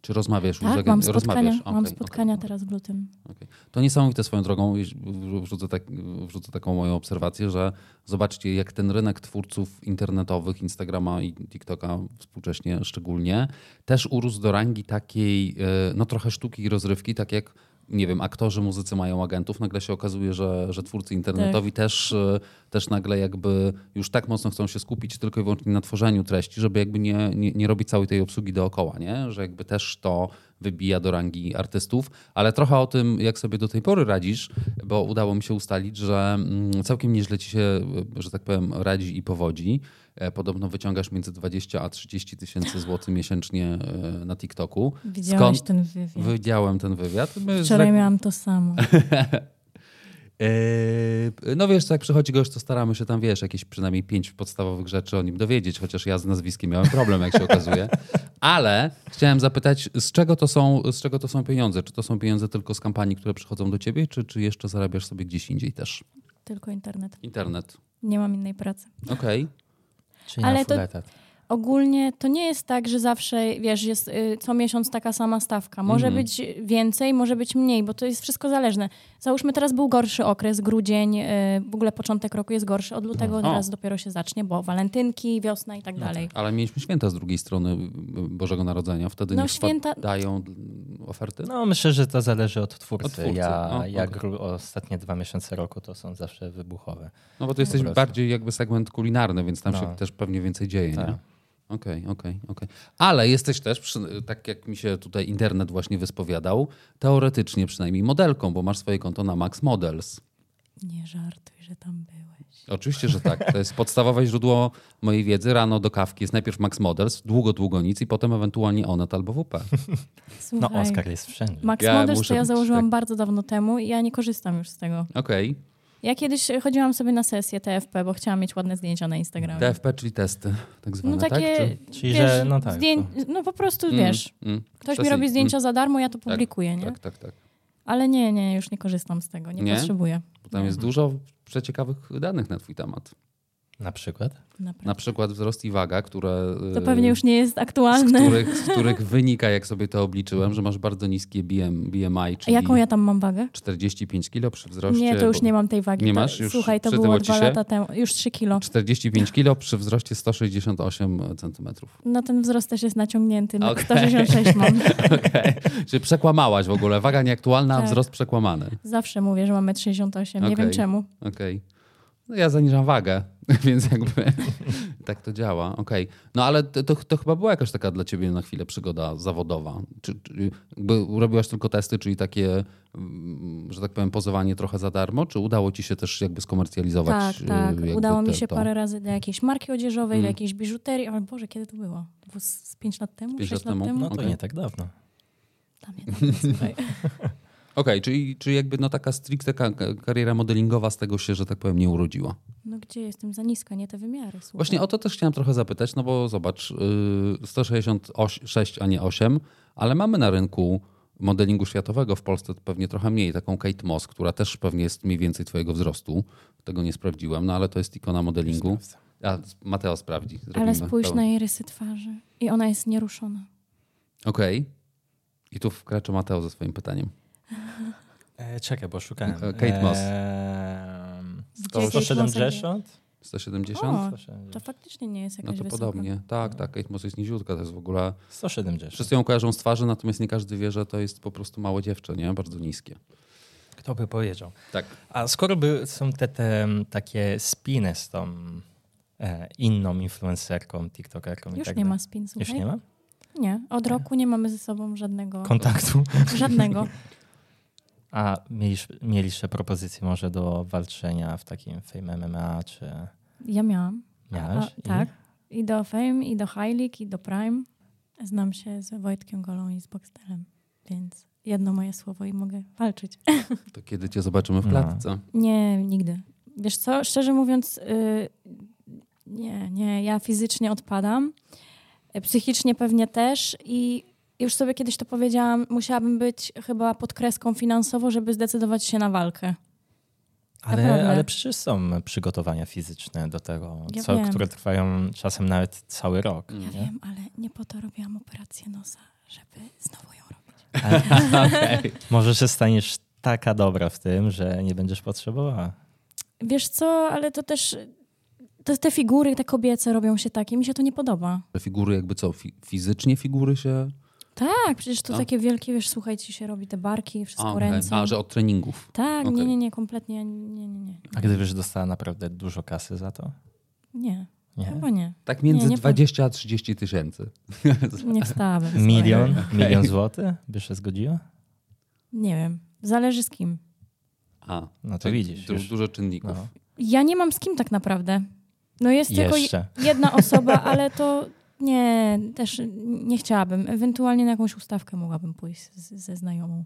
[SPEAKER 3] Czy rozmawiasz już? z
[SPEAKER 1] Tak,
[SPEAKER 3] agen-
[SPEAKER 1] mam spotkania,
[SPEAKER 3] Rozmawiasz.
[SPEAKER 1] mam
[SPEAKER 3] okej,
[SPEAKER 1] spotkania
[SPEAKER 3] okej,
[SPEAKER 1] teraz w lutym.
[SPEAKER 3] okej. To niesamowite swoją drogą, jeśli- wrzucę, tak, wrzucę taką moją obserwację, że zobaczcie, jak ten rynek twórców internetowych, Instagrama i TikToka współcześnie szczególnie, też urósł do rangi takiej, e, no trochę sztuki i rozrywki, tak jak, nie wiem, aktorzy, muzycy mają agentów, nagle się okazuje, że, że twórcy internetowi też, e, też nagle jakby już tak mocno chcą się skupić tylko i wyłącznie na tworzeniu treści, żeby jakby nie, nie, nie robić całej tej obsługi dookoła, nie? Że jakby też to wybija do rangi artystów, ale trochę o tym, jak sobie do tej pory radzisz, bo udało mi się ustalić, że mm, całkiem nieźle ci się, e, że tak powiem, radzi i powodzi. E, Podobno wyciągasz między 20 a 30 tysięcy złotych miesięcznie e, na TikToku.
[SPEAKER 1] Widziałeś ten wywiad.
[SPEAKER 3] Widziałem ten wywiad. My
[SPEAKER 1] Wczoraj
[SPEAKER 3] zre-
[SPEAKER 1] miałam to samo. (laughs)
[SPEAKER 3] Yy, No wiesz, co, jak przychodzi gość, to staramy się tam, wiesz, jakieś przynajmniej pięć podstawowych rzeczy o nim dowiedzieć, chociaż ja z nazwiskiem miałem problem, jak się okazuje. Ale chciałem zapytać, z czego to są, z czego to są pieniądze? Czy to są pieniądze tylko z kampanii, które przychodzą do ciebie, czy, czy jeszcze zarabiasz sobie gdzieś indziej też?
[SPEAKER 1] Tylko internet.
[SPEAKER 3] Internet.
[SPEAKER 1] Nie mam innej pracy.
[SPEAKER 3] Okej.
[SPEAKER 2] Czy nie
[SPEAKER 1] Ale
[SPEAKER 2] na full
[SPEAKER 1] to-
[SPEAKER 2] etat?
[SPEAKER 1] Ogólnie to nie jest tak, że zawsze, wiesz, jest y, co miesiąc taka sama stawka. Może
[SPEAKER 3] Mhm.
[SPEAKER 1] być więcej, może być mniej, bo to jest wszystko zależne. Załóżmy, teraz był gorszy okres, grudzień, y, w ogóle początek roku jest gorszy. Od lutego
[SPEAKER 3] No.
[SPEAKER 1] teraz dopiero się zacznie, bo walentynki, wiosna i tak dalej.
[SPEAKER 3] Ale mieliśmy święta z drugiej strony y, Bożego Narodzenia. Wtedy
[SPEAKER 1] No,
[SPEAKER 3] nie
[SPEAKER 1] święta-
[SPEAKER 3] dają oferty?
[SPEAKER 2] No myślę, że to zależy od twórcy.
[SPEAKER 3] Od twórcy.
[SPEAKER 2] Ja,
[SPEAKER 3] O,
[SPEAKER 2] ja
[SPEAKER 3] okej.
[SPEAKER 2] gru- ostatnie dwa miesiące roku to są zawsze wybuchowe.
[SPEAKER 3] No bo to jesteś
[SPEAKER 2] prostu.
[SPEAKER 3] bardziej jakby segment kulinarny, więc tam
[SPEAKER 2] No.
[SPEAKER 3] się też pewnie więcej dzieje,
[SPEAKER 2] Tak.
[SPEAKER 3] nie? Okej, okej, okej. Ale jesteś też, przy, tak jak mi się tutaj internet właśnie wyspowiadał, teoretycznie przynajmniej modelką, bo masz swoje konto na Max Models.
[SPEAKER 1] Nie żartuj, że tam byłeś.
[SPEAKER 3] Oczywiście, że tak.
[SPEAKER 2] (laughs)
[SPEAKER 3] To jest podstawowe źródło mojej wiedzy. Rano do kawki jest najpierw Max Models, długo, długo nic i potem ewentualnie Onet albo WP.
[SPEAKER 2] No
[SPEAKER 1] Słuchaj,
[SPEAKER 2] Oskar jest wszędzie.
[SPEAKER 1] Max
[SPEAKER 3] Ja
[SPEAKER 1] Models
[SPEAKER 3] muszę
[SPEAKER 1] to ja
[SPEAKER 3] być,
[SPEAKER 1] założyłam
[SPEAKER 3] tak.
[SPEAKER 1] bardzo dawno temu i ja nie korzystam już z tego.
[SPEAKER 3] Okej.
[SPEAKER 1] Ja kiedyś chodziłam sobie na sesję TFP, bo chciałam mieć ładne zdjęcia na
[SPEAKER 2] Tak.
[SPEAKER 1] Instagramie.
[SPEAKER 3] TFP, czyli testy tak zwane,
[SPEAKER 1] no takie,
[SPEAKER 3] tak? Czy...
[SPEAKER 2] Czyli,
[SPEAKER 1] wiesz,
[SPEAKER 2] że no tak.
[SPEAKER 1] zdję- no po prostu,
[SPEAKER 3] Mm,
[SPEAKER 1] wiesz,
[SPEAKER 3] mm.
[SPEAKER 1] ktoś mi
[SPEAKER 3] Sesji.
[SPEAKER 1] robi zdjęcia za darmo, ja to publikuję, nie?
[SPEAKER 3] Tak, tak, tak.
[SPEAKER 1] Ale nie, nie, już nie korzystam z tego, nie,
[SPEAKER 3] Nie?
[SPEAKER 1] potrzebuję.
[SPEAKER 3] Bo tam
[SPEAKER 1] No.
[SPEAKER 3] jest dużo przeciekawych danych na twój temat.
[SPEAKER 2] Na przykład?
[SPEAKER 1] Naprawdę.
[SPEAKER 3] Na przykład wzrost i waga, które... y,
[SPEAKER 1] To pewnie już nie jest
[SPEAKER 3] z
[SPEAKER 1] aktualne.
[SPEAKER 3] których,
[SPEAKER 1] (laughs)
[SPEAKER 3] z których wynika, jak sobie to obliczyłem, że masz bardzo niskie BM, BMI,
[SPEAKER 1] A
[SPEAKER 3] czyli
[SPEAKER 1] jaką ja tam mam wagę?
[SPEAKER 3] 45 kilo przy wzroście...
[SPEAKER 1] Nie, to już
[SPEAKER 3] bo-
[SPEAKER 1] nie mam tej wagi.
[SPEAKER 3] Nie
[SPEAKER 1] to,
[SPEAKER 3] masz? Już
[SPEAKER 1] słuchaj, to
[SPEAKER 3] przytyło
[SPEAKER 1] było
[SPEAKER 3] ci
[SPEAKER 1] dwa
[SPEAKER 3] się?
[SPEAKER 1] lata temu, już 3 kilo.
[SPEAKER 3] 45 kilo przy wzroście 168 centymetrów.
[SPEAKER 1] No ten wzrost też jest naciągnięty, na
[SPEAKER 3] Okej.
[SPEAKER 1] 166
[SPEAKER 3] (laughs)
[SPEAKER 1] mam.
[SPEAKER 3] Okej. Czy przekłamałaś w ogóle? Waga nieaktualna, a
[SPEAKER 1] Tak.
[SPEAKER 3] wzrost przekłamany.
[SPEAKER 1] Zawsze mówię, że mam 1,68 m, nie
[SPEAKER 3] Okej.
[SPEAKER 1] wiem czemu.
[SPEAKER 3] Okej. No ja zaniżam wagę, (laughs) więc jakby (laughs) tak to działa. Okej. No ale to, to, to chyba była jakaś taka dla ciebie na chwilę przygoda zawodowa. Czy, czy jakby robiłaś tylko testy, czyli takie, mm, że tak powiem, pozowanie trochę za darmo, czy udało ci się też jakby skomercjalizować?
[SPEAKER 1] Tak, tak.
[SPEAKER 3] y, jakby
[SPEAKER 1] Udało mi
[SPEAKER 3] te-
[SPEAKER 1] się
[SPEAKER 3] to? Mm.
[SPEAKER 1] parę razy do jakiejś marki odzieżowej, do jakiejś biżuterii. O Boże, kiedy to było? To było z z 5 lat temu?
[SPEAKER 3] pięć
[SPEAKER 1] 6
[SPEAKER 3] lat
[SPEAKER 1] lat
[SPEAKER 3] temu?
[SPEAKER 1] temu?
[SPEAKER 2] No to
[SPEAKER 3] Okej.
[SPEAKER 2] nie tak
[SPEAKER 3] (laughs)
[SPEAKER 2] dawno.
[SPEAKER 1] Tam (laughs) nie, słuchaj.
[SPEAKER 3] Okej, czyli, czyli jakby no taka stricte ka- kariera modelingowa z tego się, że tak powiem, nie urodziła.
[SPEAKER 1] No gdzie jestem za niska, nie te wymiary. Słuchaj.
[SPEAKER 3] Właśnie o to też chciałem trochę zapytać, no bo zobacz, yy, 166, a nie 8, ale mamy na rynku modelingu światowego w Polsce pewnie trochę mniej, taką Kate Moss, która też pewnie jest mniej więcej twojego wzrostu. Tego nie sprawdziłem, no ale to jest ikona modelingu. A, Mateo sprawdzi.
[SPEAKER 1] Ale
[SPEAKER 3] zrobimy
[SPEAKER 1] spójrz
[SPEAKER 3] pełen-
[SPEAKER 1] na jej rysy twarzy. I ona jest nieruszona.
[SPEAKER 3] Okej. I tu wkracza Mateo ze swoim pytaniem.
[SPEAKER 2] E, czekaj, bo szukałem.
[SPEAKER 3] Kate Moss.
[SPEAKER 2] Ehm,
[SPEAKER 1] Gdzie jakieś masakry?
[SPEAKER 2] 170?
[SPEAKER 3] 170?
[SPEAKER 1] O,
[SPEAKER 2] 170.
[SPEAKER 1] to faktycznie nie jest
[SPEAKER 3] no
[SPEAKER 1] jakaś
[SPEAKER 3] to
[SPEAKER 1] wysoka. No.
[SPEAKER 3] podobnie. Tak, tak, Kate Moss jest niziutka, to jest w ogóle...
[SPEAKER 2] 170.
[SPEAKER 3] Wszyscy ją kojarzą z twarzy, natomiast nie każdy wie, że to jest po prostu małe dziewczę, nie? Bardzo niskie.
[SPEAKER 2] Kto by powiedział?
[SPEAKER 3] Tak.
[SPEAKER 2] A skoro by są te, te m, takie spiny z tą e, inną influencerką, tiktokerką i
[SPEAKER 1] Już
[SPEAKER 2] tak
[SPEAKER 1] nie
[SPEAKER 2] dalej.
[SPEAKER 1] ma spin, słuchaj.
[SPEAKER 2] Już nie ma? Tak.
[SPEAKER 1] Nie, od roku nie mamy ze sobą żadnego.
[SPEAKER 2] Kontaktu. (laughs)
[SPEAKER 1] żadnego.
[SPEAKER 2] A mieliście, mieliście propozycje może do walczenia w takim Fame MMA, czy
[SPEAKER 1] Ja miałam.
[SPEAKER 2] miałeś?
[SPEAKER 1] A, tak. I do Fame, i do High League, i do Prime. Znam się z Wojtkiem Golą i z Boxtelem, więc jedno moje słowo i mogę walczyć. (laughs)
[SPEAKER 3] To kiedy cię zobaczymy w
[SPEAKER 2] No.
[SPEAKER 3] klatce?
[SPEAKER 1] Nie, nigdy. Wiesz co, szczerze mówiąc, y, nie, nie, ja fizycznie odpadam, Y, psychicznie pewnie też i już sobie kiedyś to powiedziałam, musiałabym być chyba pod kreską finansowo, żeby zdecydować się na walkę.
[SPEAKER 2] Ale,
[SPEAKER 1] Naprawdę.
[SPEAKER 2] ale przecież są przygotowania fizyczne do tego,
[SPEAKER 1] Ja
[SPEAKER 2] co,
[SPEAKER 1] wiem.
[SPEAKER 2] które trwają czasem nawet cały rok.
[SPEAKER 1] Ja
[SPEAKER 2] nie? (laughs)
[SPEAKER 1] wiem, ale nie po to robiłam operację nosa, żeby znowu ją robić.
[SPEAKER 2] Może się staniesz taka dobra w tym, że nie będziesz potrzebowała.
[SPEAKER 1] Wiesz co, ale to też, to te figury, te kobiece robią się takie, mi się to nie podoba.
[SPEAKER 3] Te Figury jakby co, fi- fizycznie figury się...
[SPEAKER 1] Tak, przecież to
[SPEAKER 3] A?
[SPEAKER 1] takie wielkie, wiesz, słuchaj, ci się robi te barki, wszystko
[SPEAKER 3] A, okej.
[SPEAKER 1] ręce.
[SPEAKER 3] A, że od treningów.
[SPEAKER 1] Tak,
[SPEAKER 3] Okej.
[SPEAKER 1] nie, nie, nie, kompletnie, ja nie, nie, nie.
[SPEAKER 2] A gdybyś dostała naprawdę dużo kasy za to?
[SPEAKER 1] Nie,
[SPEAKER 2] Nie?
[SPEAKER 1] chyba
[SPEAKER 3] (laughs)
[SPEAKER 1] nie.
[SPEAKER 3] Tak między
[SPEAKER 1] Nie, nie
[SPEAKER 3] 20 a 30 tysięcy.
[SPEAKER 1] Nie wstałabym. słuchaj.
[SPEAKER 2] Milion? Milion złotych? By się zgodziła?
[SPEAKER 1] Nie wiem, zależy z kim.
[SPEAKER 3] A,
[SPEAKER 2] No to
[SPEAKER 3] czyli
[SPEAKER 2] widzisz
[SPEAKER 3] Du-
[SPEAKER 2] już.
[SPEAKER 3] dużo czynników.
[SPEAKER 2] No.
[SPEAKER 1] Ja nie mam z kim tak naprawdę. No jest tylko je-
[SPEAKER 2] Jeszcze.
[SPEAKER 3] (laughs)
[SPEAKER 1] jedna osoba, ale to nie, też nie chciałabym. Ewentualnie na jakąś ustawkę mogłabym pójść z, ze znajomą.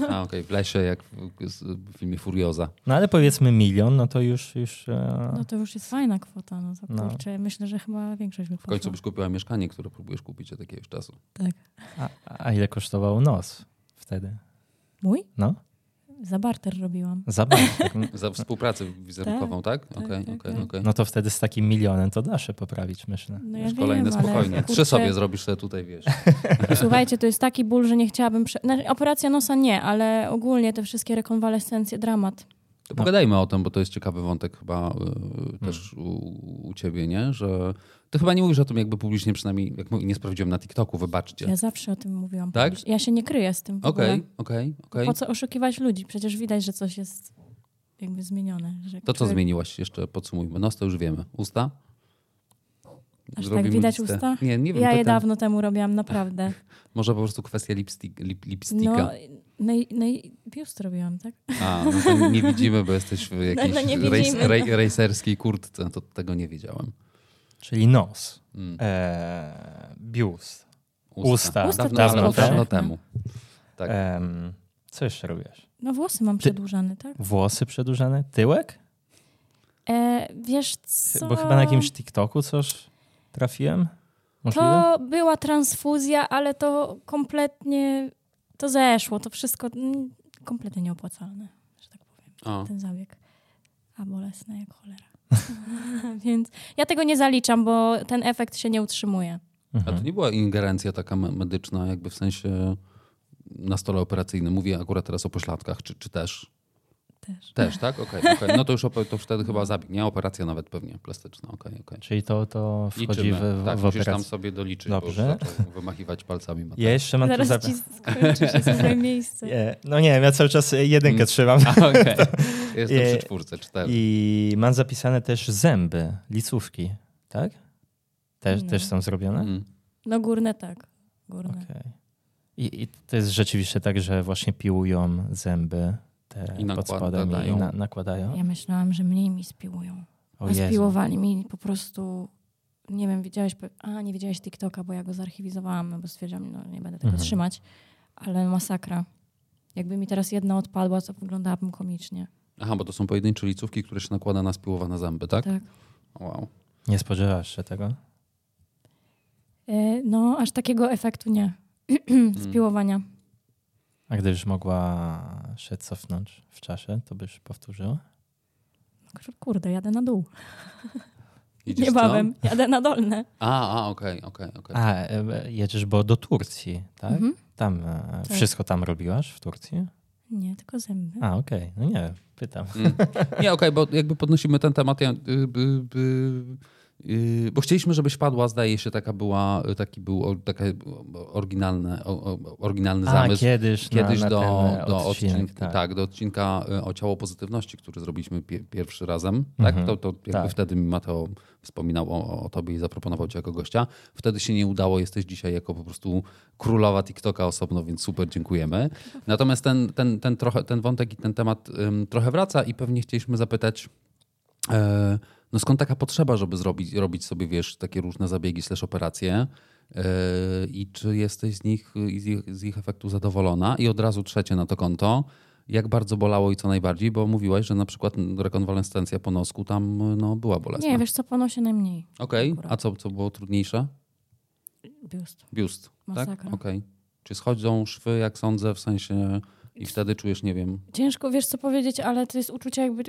[SPEAKER 1] No.
[SPEAKER 3] A, okej, w lesie, jak w, z- w filmie Furioza.
[SPEAKER 2] No ale powiedzmy milion, no to już... już e,
[SPEAKER 1] No to już jest fajna kwota, no to
[SPEAKER 2] No.
[SPEAKER 1] kurczę, myślę, że chyba większość by
[SPEAKER 3] W końcu
[SPEAKER 1] poszła.
[SPEAKER 3] byś kupiła mieszkanie, które próbujesz kupić od jakiegoś czasu.
[SPEAKER 1] Tak.
[SPEAKER 2] a, a ile kosztował nos wtedy?
[SPEAKER 1] Mój?
[SPEAKER 2] No,
[SPEAKER 1] Za barter robiłam. (laughs)
[SPEAKER 2] za bartek.
[SPEAKER 3] Za współpracę wizerunkową, tak? Okej, okej,
[SPEAKER 1] tak,
[SPEAKER 3] okej.
[SPEAKER 1] tak.
[SPEAKER 2] No to wtedy z takim milionem to da się poprawić, myślę.
[SPEAKER 1] No ja
[SPEAKER 3] Już kolejne
[SPEAKER 1] wiem, ale
[SPEAKER 3] spokojnie. Trzy
[SPEAKER 1] kurczę,
[SPEAKER 3] sobie zrobisz sobie tutaj, wiesz.
[SPEAKER 1] Słuchajcie, to jest taki ból, że nie chciałabym... Prze... Znaczy, operacja nosa nie, ale ogólnie te wszystkie rekonwalescencje, dramat.
[SPEAKER 3] To pogadajmy o tym, bo to jest ciekawy wątek chyba y, też u, u ciebie, nie? Że ty chyba nie mówisz o tym jakby publicznie, przynajmniej jak mówię, nie sprawdziłem na TikToku, wybaczcie.
[SPEAKER 1] Ja zawsze o tym mówiłam.
[SPEAKER 3] Tak?
[SPEAKER 1] publicznie. Ja się nie kryję z tym w ogóle.
[SPEAKER 3] Okej, okej, okej.
[SPEAKER 1] Po co oszukiwać ludzi? Przecież widać, że coś jest jakby zmienione. Że
[SPEAKER 3] To co
[SPEAKER 1] człowiek-
[SPEAKER 3] zmieniłaś jeszcze? Podsumujmy. Nos to już wiemy. Usta?
[SPEAKER 1] Aż tak
[SPEAKER 3] Zrobimy
[SPEAKER 1] widać
[SPEAKER 3] listę.
[SPEAKER 1] usta?
[SPEAKER 3] Nie, nie wiem.
[SPEAKER 1] ja je
[SPEAKER 3] pytam.
[SPEAKER 1] dawno temu robiłam,
[SPEAKER 3] (laughs)
[SPEAKER 1] naprawdę.
[SPEAKER 3] Może po prostu kwestia lipstick, lip, lipsticka.
[SPEAKER 1] No, no, i, no i biust robiłam, tak?
[SPEAKER 3] A, no to nie widzimy, bo jesteś w
[SPEAKER 1] (laughs)
[SPEAKER 3] jakiejś
[SPEAKER 1] no nie
[SPEAKER 3] rejs,
[SPEAKER 1] widzimy.
[SPEAKER 3] rej, rejserskiej kurtce. To tego nie wiedziałem.
[SPEAKER 2] Czyli nos,
[SPEAKER 3] Mm.
[SPEAKER 2] e, biust,
[SPEAKER 3] Usta.
[SPEAKER 2] Usta.
[SPEAKER 1] Usta
[SPEAKER 3] Dawno,
[SPEAKER 1] to jest
[SPEAKER 3] dawno, dawno
[SPEAKER 1] powszechne.
[SPEAKER 3] temu. Tak.
[SPEAKER 2] em, co jeszcze robisz?
[SPEAKER 1] No włosy mam przedłużane, tak?
[SPEAKER 2] Włosy przedłużane? Tyłek?
[SPEAKER 1] E, wiesz co?
[SPEAKER 2] Bo chyba na jakimś TikToku coś trafiłem? Możliwe?
[SPEAKER 1] To była transfuzja, ale to kompletnie, to zeszło, to wszystko mm, kompletnie nieopłacalne, że tak powiem,
[SPEAKER 3] O.
[SPEAKER 1] ten zabieg. A bolesne jak cholera. (laughs) Więc ja tego nie zaliczam, bo ten efekt się nie utrzymuje.
[SPEAKER 2] Mhm.
[SPEAKER 3] A to nie była ingerencja taka me- medyczna, jakby w sensie na stole operacyjnym. Mówię akurat teraz o pośladkach, czy, czy też?
[SPEAKER 1] Też.
[SPEAKER 3] Też, tak? Okej, okej. no to już opo- to wtedy chyba zabieg, nie? Operacja nawet pewnie plastyczna, okej, okej.
[SPEAKER 2] Czyli to, to wchodzi w,
[SPEAKER 3] Liczymy.
[SPEAKER 2] w,
[SPEAKER 3] tak,
[SPEAKER 2] w
[SPEAKER 3] musisz tam no tak.
[SPEAKER 2] operację.
[SPEAKER 3] sobie doliczyć,
[SPEAKER 2] Dobrze.
[SPEAKER 3] bo już zaczął wymachiwać palcami. Mateusz.
[SPEAKER 2] Ja jeszcze mam tu
[SPEAKER 1] Zaraz
[SPEAKER 2] zapy-
[SPEAKER 1] ci skończysz się
[SPEAKER 2] (laughs)
[SPEAKER 1] swoje miejsce.
[SPEAKER 2] E, No nie wiem, ja cały czas jedynkę
[SPEAKER 3] Mm. Tak.
[SPEAKER 2] trzymam.
[SPEAKER 3] (laughs) A,
[SPEAKER 2] (laughs)
[SPEAKER 3] Okej. Jestem
[SPEAKER 2] Je-
[SPEAKER 3] przy czwórce, cztery.
[SPEAKER 2] I mam zapisane też zęby, licówki, tak? Też,
[SPEAKER 1] No.
[SPEAKER 2] też są zrobione?
[SPEAKER 3] Mm.
[SPEAKER 1] No górne tak, górne.
[SPEAKER 2] Okej. I, I to jest rzeczywiście tak, że właśnie piłują zęby te pod
[SPEAKER 3] I nakładają.
[SPEAKER 2] spodem i na, nakładają?
[SPEAKER 1] Ja myślałam, że mniej mi spiłują.
[SPEAKER 2] O
[SPEAKER 1] A
[SPEAKER 2] Jezu.
[SPEAKER 1] spiłowali mi po prostu. Nie wiem, widziałeś. pe- A, nie widziałeś TikToka, bo ja go zarchiwizowałam, bo stwierdziłam, no nie będę tego
[SPEAKER 2] Mhm.
[SPEAKER 1] trzymać. Ale masakra. Jakby mi teraz jedna odpadła, to wyglądałabym komicznie.
[SPEAKER 3] Aha, bo to są pojedyncze licówki, które się nakłada na spiłowane zęby, tak?
[SPEAKER 1] Tak.
[SPEAKER 3] Wow.
[SPEAKER 2] Nie spodziewasz się tego?
[SPEAKER 1] E, no, aż takiego efektu nie. (clears throat)
[SPEAKER 3] Mm.
[SPEAKER 1] Spiłowania.
[SPEAKER 2] A gdybyś mogła się cofnąć w czasie, to byś powtórzyła?
[SPEAKER 1] Kur- Kurde, jadę na dół.
[SPEAKER 3] Idziesz
[SPEAKER 1] Niebawem.
[SPEAKER 3] co?
[SPEAKER 1] Jadę na dolne.
[SPEAKER 3] A, a, okej, okej, okej.
[SPEAKER 2] A, e, e, jedziesz bo do Turcji, tak?
[SPEAKER 1] Mhm.
[SPEAKER 2] Tam e, wszystko tam robiłaś w Turcji?
[SPEAKER 1] Nie, tylko zęby.
[SPEAKER 2] A, okej, no nie, pytam.
[SPEAKER 3] Nie, okej, bo jakby podnosimy ten temat. Ja, y, y, y, y, bo chcieliśmy, żebyś padła, zdaje się, taka była, y, taki był o- taka oryginalny, o, o, oryginalny
[SPEAKER 2] A,
[SPEAKER 3] zamysł.
[SPEAKER 2] kiedyś na-
[SPEAKER 3] kiedyś
[SPEAKER 2] na
[SPEAKER 3] do,
[SPEAKER 2] ten, e,
[SPEAKER 3] do
[SPEAKER 2] odcinek,
[SPEAKER 3] odcinka, tak.
[SPEAKER 2] tak.
[SPEAKER 3] do odcinka y, o ciało pozytywności, który zrobiliśmy pie, pierwszy razem. Tak? To, to jakby
[SPEAKER 2] Tak.
[SPEAKER 3] wtedy mi Mateo wspominał o, o tobie i zaproponował cię jako gościa. Wtedy się nie udało, jesteś dzisiaj jako po prostu królowa TikToka osobno, więc super, dziękujemy. Natomiast ten, ten, ten, trochę, ten wątek i ten temat ym, trochę wraca i pewnie chcieliśmy zapytać, E, No skąd taka potrzeba, żeby zrobić, robić sobie, wiesz, takie różne zabiegi slash operacje E, i czy jesteś z nich, i z ich, z ich efektu zadowolona? I od razu trzecie na to konto, jak bardzo bolało i co najbardziej, bo mówiłaś, że na przykład rekonwalescencja po nosku tam no, była bolesna.
[SPEAKER 1] Nie, wiesz co, ponosi najmniej.
[SPEAKER 3] Okej,
[SPEAKER 1] Akurat.
[SPEAKER 3] a co, co było trudniejsze?
[SPEAKER 1] Biust.
[SPEAKER 3] Biust, tak?
[SPEAKER 1] Masakra.
[SPEAKER 3] Okej. Czy schodzą szwy, jak sądzę, w sensie i wtedy czujesz, nie wiem,
[SPEAKER 1] Ciężko wiesz co powiedzieć, ale to jest uczucie jakby,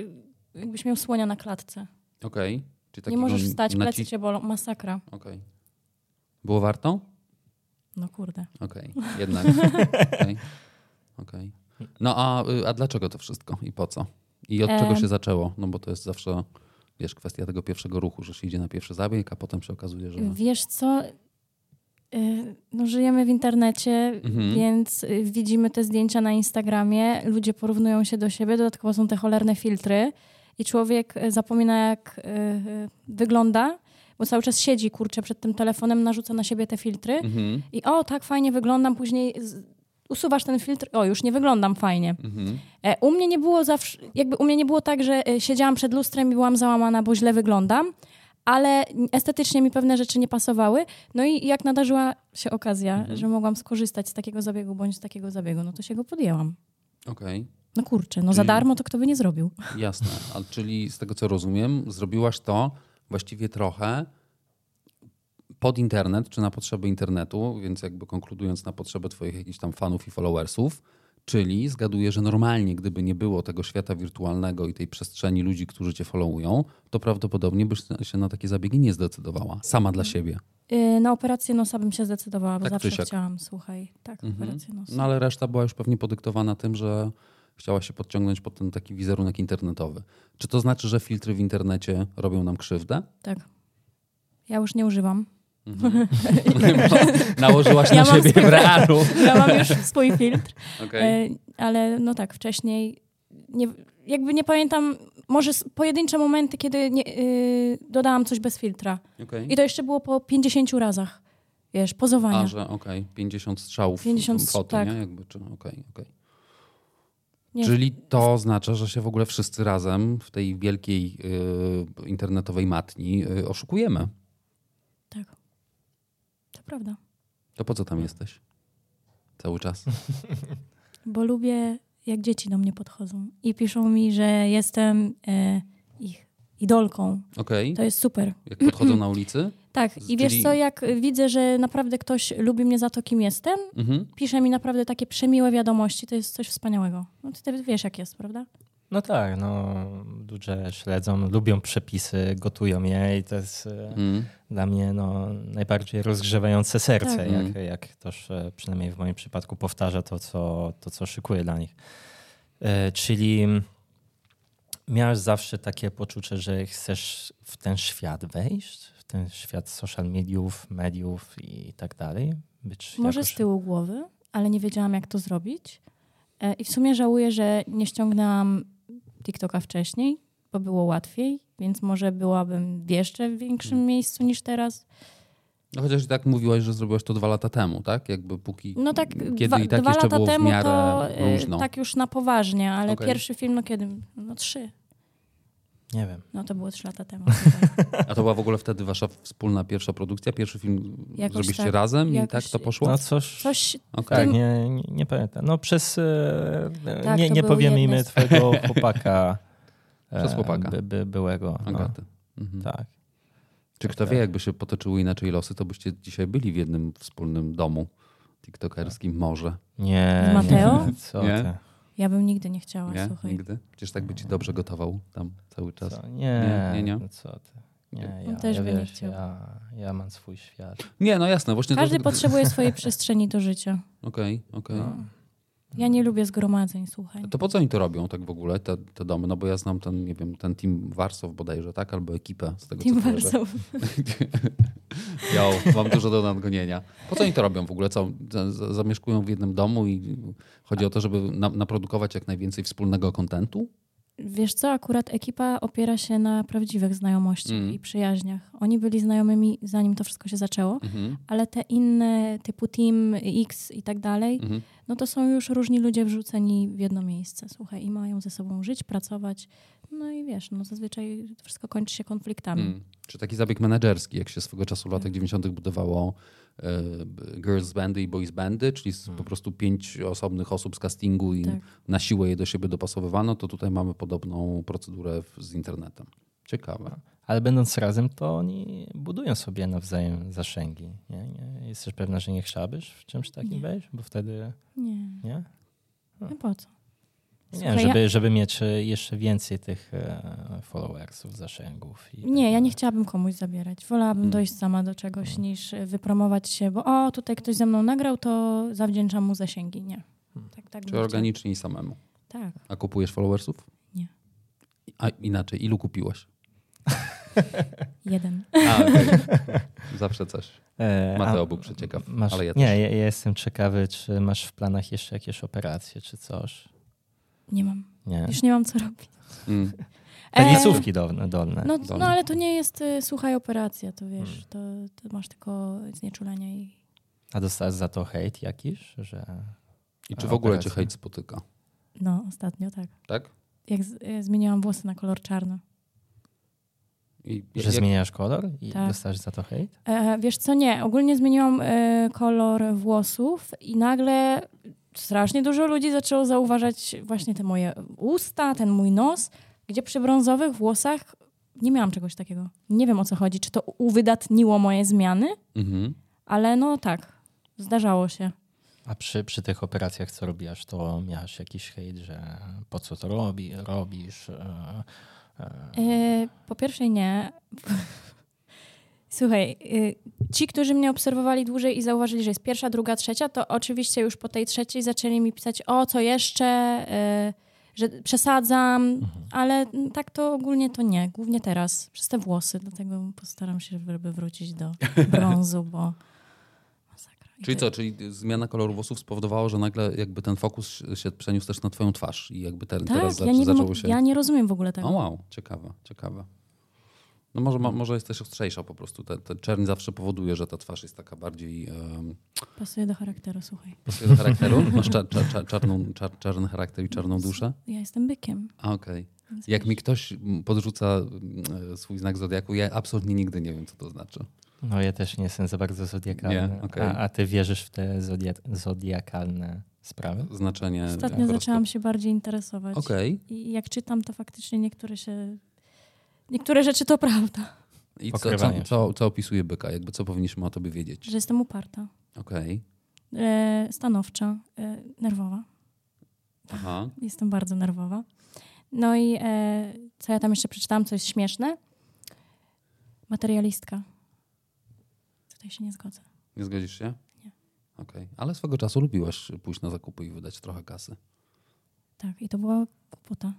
[SPEAKER 1] jakbyś miał słonia na klatce.
[SPEAKER 3] okej. Czy
[SPEAKER 1] Nie
[SPEAKER 3] takiego
[SPEAKER 1] możesz wstać,
[SPEAKER 3] naci-
[SPEAKER 1] plecy cię bolą. Masakra.
[SPEAKER 3] Okej. Było warto?
[SPEAKER 1] No kurde.
[SPEAKER 3] Okej, jednak. Okej. Okej. No a, y, a dlaczego to wszystko i po co? I od czego
[SPEAKER 1] Em.
[SPEAKER 3] się zaczęło? No bo to jest zawsze, wiesz, kwestia tego pierwszego ruchu, że się idzie na pierwszy zabieg, a potem się okazuje, że...
[SPEAKER 1] Wiesz co? Y, No, żyjemy w internecie, więc y, widzimy te zdjęcia na Instagramie, ludzie porównują się do siebie, dodatkowo są te cholerne filtry i człowiek y, zapomina jak y, y, wygląda, bo cały czas siedzi, kurczę, przed tym telefonem, narzuca na siebie te filtry
[SPEAKER 3] Mhm.
[SPEAKER 1] i o, tak fajnie wyglądam, później z- usuwasz ten filtr, o, już nie wyglądam fajnie.
[SPEAKER 3] Mhm.
[SPEAKER 1] E, U mnie nie było zawsze, jakby u mnie nie było tak, że e, siedziałam przed lustrem i byłam załamana, bo źle wyglądam, ale estetycznie mi pewne rzeczy nie pasowały. No i jak nadarzyła się okazja,
[SPEAKER 3] Mhm.
[SPEAKER 1] że mogłam skorzystać z takiego zabiegu bądź z takiego zabiegu, no to się go podjęłam.
[SPEAKER 3] Okej,
[SPEAKER 1] No kurczę, no za
[SPEAKER 3] Czyli-
[SPEAKER 1] darmo to kto by nie zrobił.
[SPEAKER 3] jasne. A, czyli z tego co rozumiem, zrobiłaś to właściwie trochę pod internet, czy na potrzeby internetu, więc jakby konkludując na potrzeby twoich jakichś tam fanów i followersów, czyli zgaduję, że normalnie, gdyby nie było tego świata wirtualnego i tej przestrzeni ludzi, którzy cię followują, to prawdopodobnie byś na- się na takie zabiegi nie zdecydowała. Sama dla siebie.
[SPEAKER 1] E, Na operację nosa bym się zdecydowała, bo
[SPEAKER 3] Tak czy
[SPEAKER 1] zawsze
[SPEAKER 3] siak.
[SPEAKER 1] chciałam, słuchaj, tak, operację nosa.
[SPEAKER 3] No ale reszta była już pewnie podyktowana tym, że chciała się podciągnąć pod ten taki wizerunek internetowy. Czy to znaczy, że filtry w internecie robią nam krzywdę?
[SPEAKER 1] Tak. Ja już nie używam.
[SPEAKER 3] (laughs) Nałożyłaś
[SPEAKER 1] Ja
[SPEAKER 3] na
[SPEAKER 1] mam
[SPEAKER 3] siebie
[SPEAKER 1] swój
[SPEAKER 3] w realu.
[SPEAKER 1] Ja mam już swój filtr.
[SPEAKER 3] Okej.
[SPEAKER 1] E, ale no tak, wcześniej nie, jakby nie pamiętam, może s- pojedyncze momenty, kiedy nie, y, dodałam coś bez filtra.
[SPEAKER 3] Okej.
[SPEAKER 1] I to jeszcze było po 50 razach, wiesz, pozowania.
[SPEAKER 3] A, że okej, 50 strzałów
[SPEAKER 1] 50
[SPEAKER 3] 50, foty,
[SPEAKER 1] tak.
[SPEAKER 3] nie? Jakby, czy, okej, okej.
[SPEAKER 1] Nie.
[SPEAKER 3] Czyli to oznacza, że się w ogóle wszyscy razem w tej wielkiej y, internetowej matni y, oszukujemy.
[SPEAKER 1] Tak. To prawda.
[SPEAKER 3] To po co tam jesteś? Cały czas.
[SPEAKER 1] Bo lubię jak dzieci do mnie podchodzą i piszą mi, że jestem e, ich idolką.
[SPEAKER 3] Okej.
[SPEAKER 1] To jest super.
[SPEAKER 3] Jak podchodzą na ulicy?
[SPEAKER 1] Tak, i wiesz
[SPEAKER 3] Czyli-
[SPEAKER 1] co, jak widzę, że naprawdę ktoś lubi mnie za to, kim jestem,
[SPEAKER 3] Mhm.
[SPEAKER 1] pisze mi naprawdę takie przemiłe wiadomości, to jest coś wspaniałego. No ty też wiesz, jak jest, prawda?
[SPEAKER 2] No tak, no ludzie śledzą, lubią przepisy, gotują je i to jest e,
[SPEAKER 3] Mhm.
[SPEAKER 2] dla mnie no, najbardziej rozgrzewające serce,
[SPEAKER 1] Tak.
[SPEAKER 2] jak,
[SPEAKER 3] Mhm.
[SPEAKER 2] jak ktoś e, przynajmniej w moim przypadku powtarza to, co, to, co szykuję dla nich. E, Czyli miałeś zawsze takie poczucie, że chcesz w ten świat wejść, w ten świat social mediów, mediów i tak dalej? Być
[SPEAKER 1] Może
[SPEAKER 2] jakoś-
[SPEAKER 1] z tyłu głowy, ale nie wiedziałam, jak to zrobić. E, I w sumie żałuję, że nie ściągnęłam TikToka wcześniej, bo było łatwiej, więc może byłabym w jeszcze większym
[SPEAKER 3] Hmm.
[SPEAKER 1] miejscu niż teraz.
[SPEAKER 3] No Chociaż i tak mówiłaś, że zrobiłaś to dwa lata temu, tak? Jakby póki.
[SPEAKER 1] No tak,
[SPEAKER 3] Kiedy
[SPEAKER 1] dwa,
[SPEAKER 3] i tak
[SPEAKER 1] dwa
[SPEAKER 3] jeszcze
[SPEAKER 1] lata
[SPEAKER 3] było w
[SPEAKER 1] temu
[SPEAKER 3] miarę
[SPEAKER 1] to e,
[SPEAKER 3] różno.
[SPEAKER 1] tak już na poważnie, ale
[SPEAKER 3] Okej.
[SPEAKER 1] pierwszy film, no kiedy? No trzy.
[SPEAKER 2] Nie wiem.
[SPEAKER 1] No to było trzy lata
[SPEAKER 3] (laughs)
[SPEAKER 1] temu.
[SPEAKER 3] A to była w ogóle wtedy wasza wspólna pierwsza produkcja? Pierwszy film
[SPEAKER 1] Jakoś
[SPEAKER 3] zrobiliście
[SPEAKER 1] tak.
[SPEAKER 3] razem i
[SPEAKER 1] Jakoś-
[SPEAKER 3] tak to poszło?
[SPEAKER 2] No coś,
[SPEAKER 1] Coś
[SPEAKER 3] Okej.
[SPEAKER 2] tak, nie, nie, nie pamiętam. No przez, e,
[SPEAKER 1] Tak,
[SPEAKER 2] nie,
[SPEAKER 1] to
[SPEAKER 2] nie
[SPEAKER 1] był
[SPEAKER 2] powiemy
[SPEAKER 1] jeden
[SPEAKER 2] imię
[SPEAKER 1] z-
[SPEAKER 2] twojego chłopaka. e,
[SPEAKER 3] (laughs) Przez chłopaka.
[SPEAKER 2] By, by, byłego. No,
[SPEAKER 3] Agaty. Mhm.
[SPEAKER 2] tak.
[SPEAKER 3] Czy kto wie, jakby się potoczyły inaczej losy, to byście dzisiaj byli w jednym wspólnym domu tiktokerskim, może.
[SPEAKER 2] Nie.
[SPEAKER 1] Z Mateo?
[SPEAKER 2] Nie, (laughs) co
[SPEAKER 3] Nie?
[SPEAKER 2] ty?
[SPEAKER 1] ja bym nigdy nie chciała,
[SPEAKER 3] Nie?
[SPEAKER 1] słuchaj.
[SPEAKER 3] Nigdy? Przecież tak by ci dobrze gotował tam cały czas.
[SPEAKER 2] Co?
[SPEAKER 3] Nie,
[SPEAKER 2] Nie, no
[SPEAKER 3] nie, nie.
[SPEAKER 2] Co ty? Nie,
[SPEAKER 1] On
[SPEAKER 2] ja,
[SPEAKER 1] też
[SPEAKER 2] ja,
[SPEAKER 1] by nie
[SPEAKER 2] wiesz,
[SPEAKER 1] chciał.
[SPEAKER 2] ja, ja mam swój świat.
[SPEAKER 3] Nie, no jasne, właśnie
[SPEAKER 1] Każdy
[SPEAKER 3] to...
[SPEAKER 1] potrzebuje swojej przestrzeni do życia.
[SPEAKER 3] Okej, okej.
[SPEAKER 1] No. Ja nie lubię zgromadzeń, słuchaj.
[SPEAKER 3] To po co oni to robią tak w ogóle, te, te domy? No bo ja znam ten, nie wiem, ten Team Warsaw bodajże, tak? Albo ekipę z tego,
[SPEAKER 1] Tim
[SPEAKER 3] co kojarzę.
[SPEAKER 1] Warsaw.
[SPEAKER 3] Jo, mam dużo do nadgonienia. Po co oni to robią w ogóle? Co, za- za- zamieszkują w jednym domu i chodzi o to, żeby na, naprodukować jak najwięcej wspólnego kontentu?
[SPEAKER 1] Wiesz co, akurat ekipa opiera się na prawdziwych znajomościach
[SPEAKER 3] Mm.
[SPEAKER 1] i przyjaźniach. Oni byli znajomymi zanim to wszystko się zaczęło,
[SPEAKER 3] Mhm.
[SPEAKER 1] ale te inne typu Team X i tak dalej,
[SPEAKER 3] Mhm.
[SPEAKER 1] no to są już różni ludzie wrzuceni w jedno miejsce, słuchaj, i mają ze sobą żyć, pracować. No i wiesz, no zazwyczaj to wszystko kończy się konfliktami.
[SPEAKER 3] Mm. Czy taki zabieg menedżerski, jak się swego czasu w latach 90. budowało e, b- girls bandy i boys bandy, czyli z, po prostu pięć osobnych osób z castingu i
[SPEAKER 1] Tak.
[SPEAKER 3] na siłę je do siebie dopasowywano, to tutaj mamy podobną procedurę w, z internetem. Ciekawe.
[SPEAKER 2] Ale będąc razem, to oni budują sobie nawzajem zasięgi. Nie? Nie? Jesteś pewna, że nie chciałabyś w czymś takim
[SPEAKER 1] Nie.
[SPEAKER 2] wejść? Bo wtedy,
[SPEAKER 1] Nie,
[SPEAKER 2] nie?
[SPEAKER 1] no po co?
[SPEAKER 2] Nie,
[SPEAKER 1] Słuchaj, ja-
[SPEAKER 2] żeby, żeby mieć e, jeszcze więcej tych e, followersów, zasięgów. I
[SPEAKER 1] Nie, ja
[SPEAKER 2] tak
[SPEAKER 1] nie
[SPEAKER 2] dalej.
[SPEAKER 1] chciałabym komuś zabierać. Wolałabym
[SPEAKER 3] Mm.
[SPEAKER 1] dojść sama do czegoś niż y, wypromować się, bo o, tutaj ktoś ze mną nagrał, to zawdzięczam mu zasięgi. Nie. Tak, tak. bym
[SPEAKER 3] Czy
[SPEAKER 1] chciała.
[SPEAKER 3] organicznie i samemu.
[SPEAKER 1] Tak.
[SPEAKER 3] A kupujesz followersów?
[SPEAKER 1] Nie.
[SPEAKER 3] A inaczej, ilu kupiłaś?
[SPEAKER 1] Jeden.
[SPEAKER 3] A, (laughs) okej. Zawsze coś.
[SPEAKER 2] E,
[SPEAKER 3] Mateo
[SPEAKER 2] a
[SPEAKER 3] był przeciekaw,
[SPEAKER 2] Masz,
[SPEAKER 3] ale ja
[SPEAKER 2] nie,
[SPEAKER 3] też.
[SPEAKER 2] ja, ja jestem ciekawy, czy masz w planach jeszcze jakieś operacje, czy coś?
[SPEAKER 1] Nie mam.
[SPEAKER 2] Nie.
[SPEAKER 1] Już nie mam co robić.
[SPEAKER 3] Mm.
[SPEAKER 2] E, Tenisówki dolne. dolne.
[SPEAKER 1] No,
[SPEAKER 3] Dobra.
[SPEAKER 1] no ale to nie jest, y, słuchaj, operacja, to wiesz, to, to masz tylko znieczulenie i...
[SPEAKER 2] A dostałeś za to hejt jakiś? Że...
[SPEAKER 3] I czy
[SPEAKER 2] A,
[SPEAKER 3] w ogóle cię
[SPEAKER 2] operacja.
[SPEAKER 3] hejt spotyka?
[SPEAKER 1] No, ostatnio tak.
[SPEAKER 3] Tak?
[SPEAKER 1] Jak z, y, zmieniłam włosy na kolor czarny.
[SPEAKER 3] I,
[SPEAKER 2] Że zmieniasz kolor i
[SPEAKER 1] Tak.
[SPEAKER 2] dostajesz za to hejt?
[SPEAKER 1] E, wiesz co, nie. Ogólnie zmieniłam e, kolor włosów i nagle strasznie dużo ludzi zaczęło zauważać właśnie te moje usta, ten mój nos, gdzie przy brązowych włosach nie miałam czegoś takiego. Nie wiem o co chodzi, czy to uwydatniło moje zmiany,
[SPEAKER 3] Mhm.
[SPEAKER 1] ale no tak, zdarzało się.
[SPEAKER 2] A przy, przy tych operacjach, co robiłaś, to miałaś jakiś hejt, że po co to robi, robisz? E, e.
[SPEAKER 1] E, po pierwsze nie. (laughs) Słuchaj, e, ci, którzy mnie obserwowali dłużej i zauważyli, że jest pierwsza, druga, trzecia, to oczywiście już po tej trzeciej zaczęli mi pisać, o co jeszcze, e, że przesadzam,
[SPEAKER 3] Mhm.
[SPEAKER 1] ale m, tak to ogólnie to nie, głównie teraz, przez te włosy, dlatego postaram się, żeby wrócić
[SPEAKER 3] (laughs)
[SPEAKER 1] do brązu, bo masakra. I
[SPEAKER 3] Czyli
[SPEAKER 1] to-
[SPEAKER 3] co, czyli zmiana koloru włosów spowodowała, że nagle jakby ten fokus się przeniósł też na twoją twarz i jakby ten, teraz
[SPEAKER 1] Tak,
[SPEAKER 3] za,
[SPEAKER 1] ja nie, wiem,
[SPEAKER 3] zaczęło
[SPEAKER 1] o-
[SPEAKER 3] się...
[SPEAKER 1] ja nie rozumiem w ogóle
[SPEAKER 3] O
[SPEAKER 1] tego.
[SPEAKER 3] wow, ciekawe, ciekawe. No może, ma, może jest też ostrzejsza po prostu. Ten, ten czern zawsze powoduje, że ta twarz jest taka bardziej um,
[SPEAKER 1] Pasuje do charakteru, słuchaj.
[SPEAKER 3] pasuje do charakteru. Masz czar, czar, czar, czarną, czar, czarny charakter i czarną duszę.
[SPEAKER 1] Ja jestem bykiem.
[SPEAKER 3] A okej.
[SPEAKER 1] więc
[SPEAKER 3] Jak mi ktoś mm, podrzuca mm, e, swój znak zodiaku, ja absolutnie nigdy nie wiem, co to znaczy.
[SPEAKER 2] No ja też nie jestem za bardzo zodiakalny.
[SPEAKER 3] Nie? Okej.
[SPEAKER 2] a, a ty wierzysz w te zodia- zodiakalne sprawy?
[SPEAKER 3] znaczenie. po
[SPEAKER 1] Ostatnio
[SPEAKER 3] prostu.
[SPEAKER 1] zaczęłam się bardziej interesować.
[SPEAKER 3] Okej.
[SPEAKER 1] I jak czytam, to faktycznie niektóre się... Niektóre rzeczy to prawda,
[SPEAKER 3] I co, co,
[SPEAKER 2] Pokrywanie się.
[SPEAKER 3] co, co opisuje byka? Jakby co powinniśmy o tobie wiedzieć?
[SPEAKER 1] że jestem uparta,
[SPEAKER 3] Okej.
[SPEAKER 1] e, stanowcza, e, nerwowa.
[SPEAKER 3] Aha.
[SPEAKER 1] Jestem bardzo nerwowa. No i e, co ja tam jeszcze przeczytałam, co jest śmieszne? Materialistka. Tutaj się nie zgodzę.
[SPEAKER 3] Nie zgodzisz się?
[SPEAKER 1] Nie.
[SPEAKER 3] Okej. Ale swego czasu lubiłaś pójść na zakupy i wydać trochę kasy.
[SPEAKER 1] Tak, i to była głupota.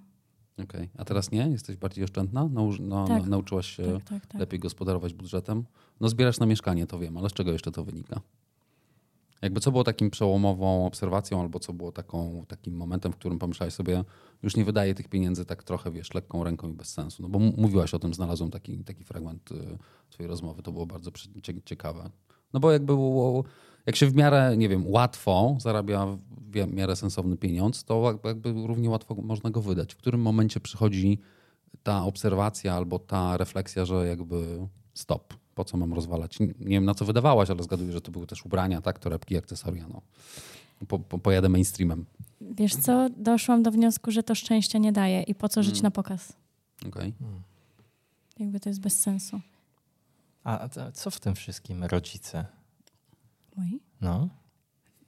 [SPEAKER 3] Okej. A teraz nie? Jesteś bardziej oszczędna? Nauż, no,
[SPEAKER 1] Tak.
[SPEAKER 3] na, nauczyłaś się
[SPEAKER 1] Tak, tak, tak.
[SPEAKER 3] lepiej gospodarować budżetem? No zbierasz na mieszkanie, to wiem, ale z czego jeszcze to wynika? Jakby co było takim przełomową obserwacją albo co było taką, takim momentem, w którym pomyślałeś sobie, już nie wydaję tych pieniędzy tak trochę, wiesz, lekką ręką i bez sensu. No bo m- mówiłaś o tym, znalazłem taki, taki fragment y, twojej rozmowy, to było bardzo przy- cie- ciekawe. No bo jakby było, jak się w miarę, nie wiem, łatwo zarabia w w miarę sensowny pieniądz, to jak- jakby równie łatwo można go wydać. W którym momencie przychodzi ta obserwacja albo ta refleksja, że jakby stop, po co mam rozwalać? Nie, nie wiem na co wydawałaś, ale zgaduję, że to były też ubrania, tak, torebki, akcesoria. No. Po, po, pojadę mainstreamem.
[SPEAKER 1] Wiesz co, doszłam do wniosku, że to szczęścia nie daje i po co żyć na pokaz?
[SPEAKER 3] Okej.
[SPEAKER 1] Jakby to jest bez sensu.
[SPEAKER 2] A a co- co w tym wszystkim rodzice?
[SPEAKER 1] Moi?
[SPEAKER 2] No.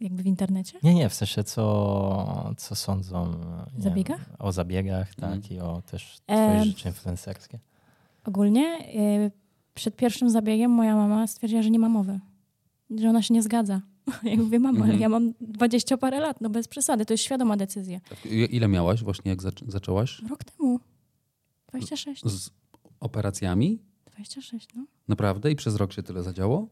[SPEAKER 1] Jakby w internecie?
[SPEAKER 2] Nie, nie, w sensie co, co sądzą nie
[SPEAKER 1] Zabiegach?
[SPEAKER 2] Wiem, o zabiegach, tak,
[SPEAKER 3] Mhm.
[SPEAKER 2] i o też
[SPEAKER 1] Em.
[SPEAKER 2] twoje życie influencerskie.
[SPEAKER 1] Ogólnie y, przed pierwszym zabiegiem moja mama stwierdziła, że nie ma mowy. Że ona się nie zgadza. (laughs) Ja mówię, mama, ale
[SPEAKER 3] Mhm.
[SPEAKER 1] ja mam dwadzieścia parę lat, no bez przesady, to jest świadoma decyzja.
[SPEAKER 3] Tak, i- Ile miałaś właśnie, jak zac- zaczęłaś?
[SPEAKER 1] Rok temu. 26.
[SPEAKER 3] Z operacjami?
[SPEAKER 1] 26, no.
[SPEAKER 3] Naprawdę? I przez rok się tyle zadziało?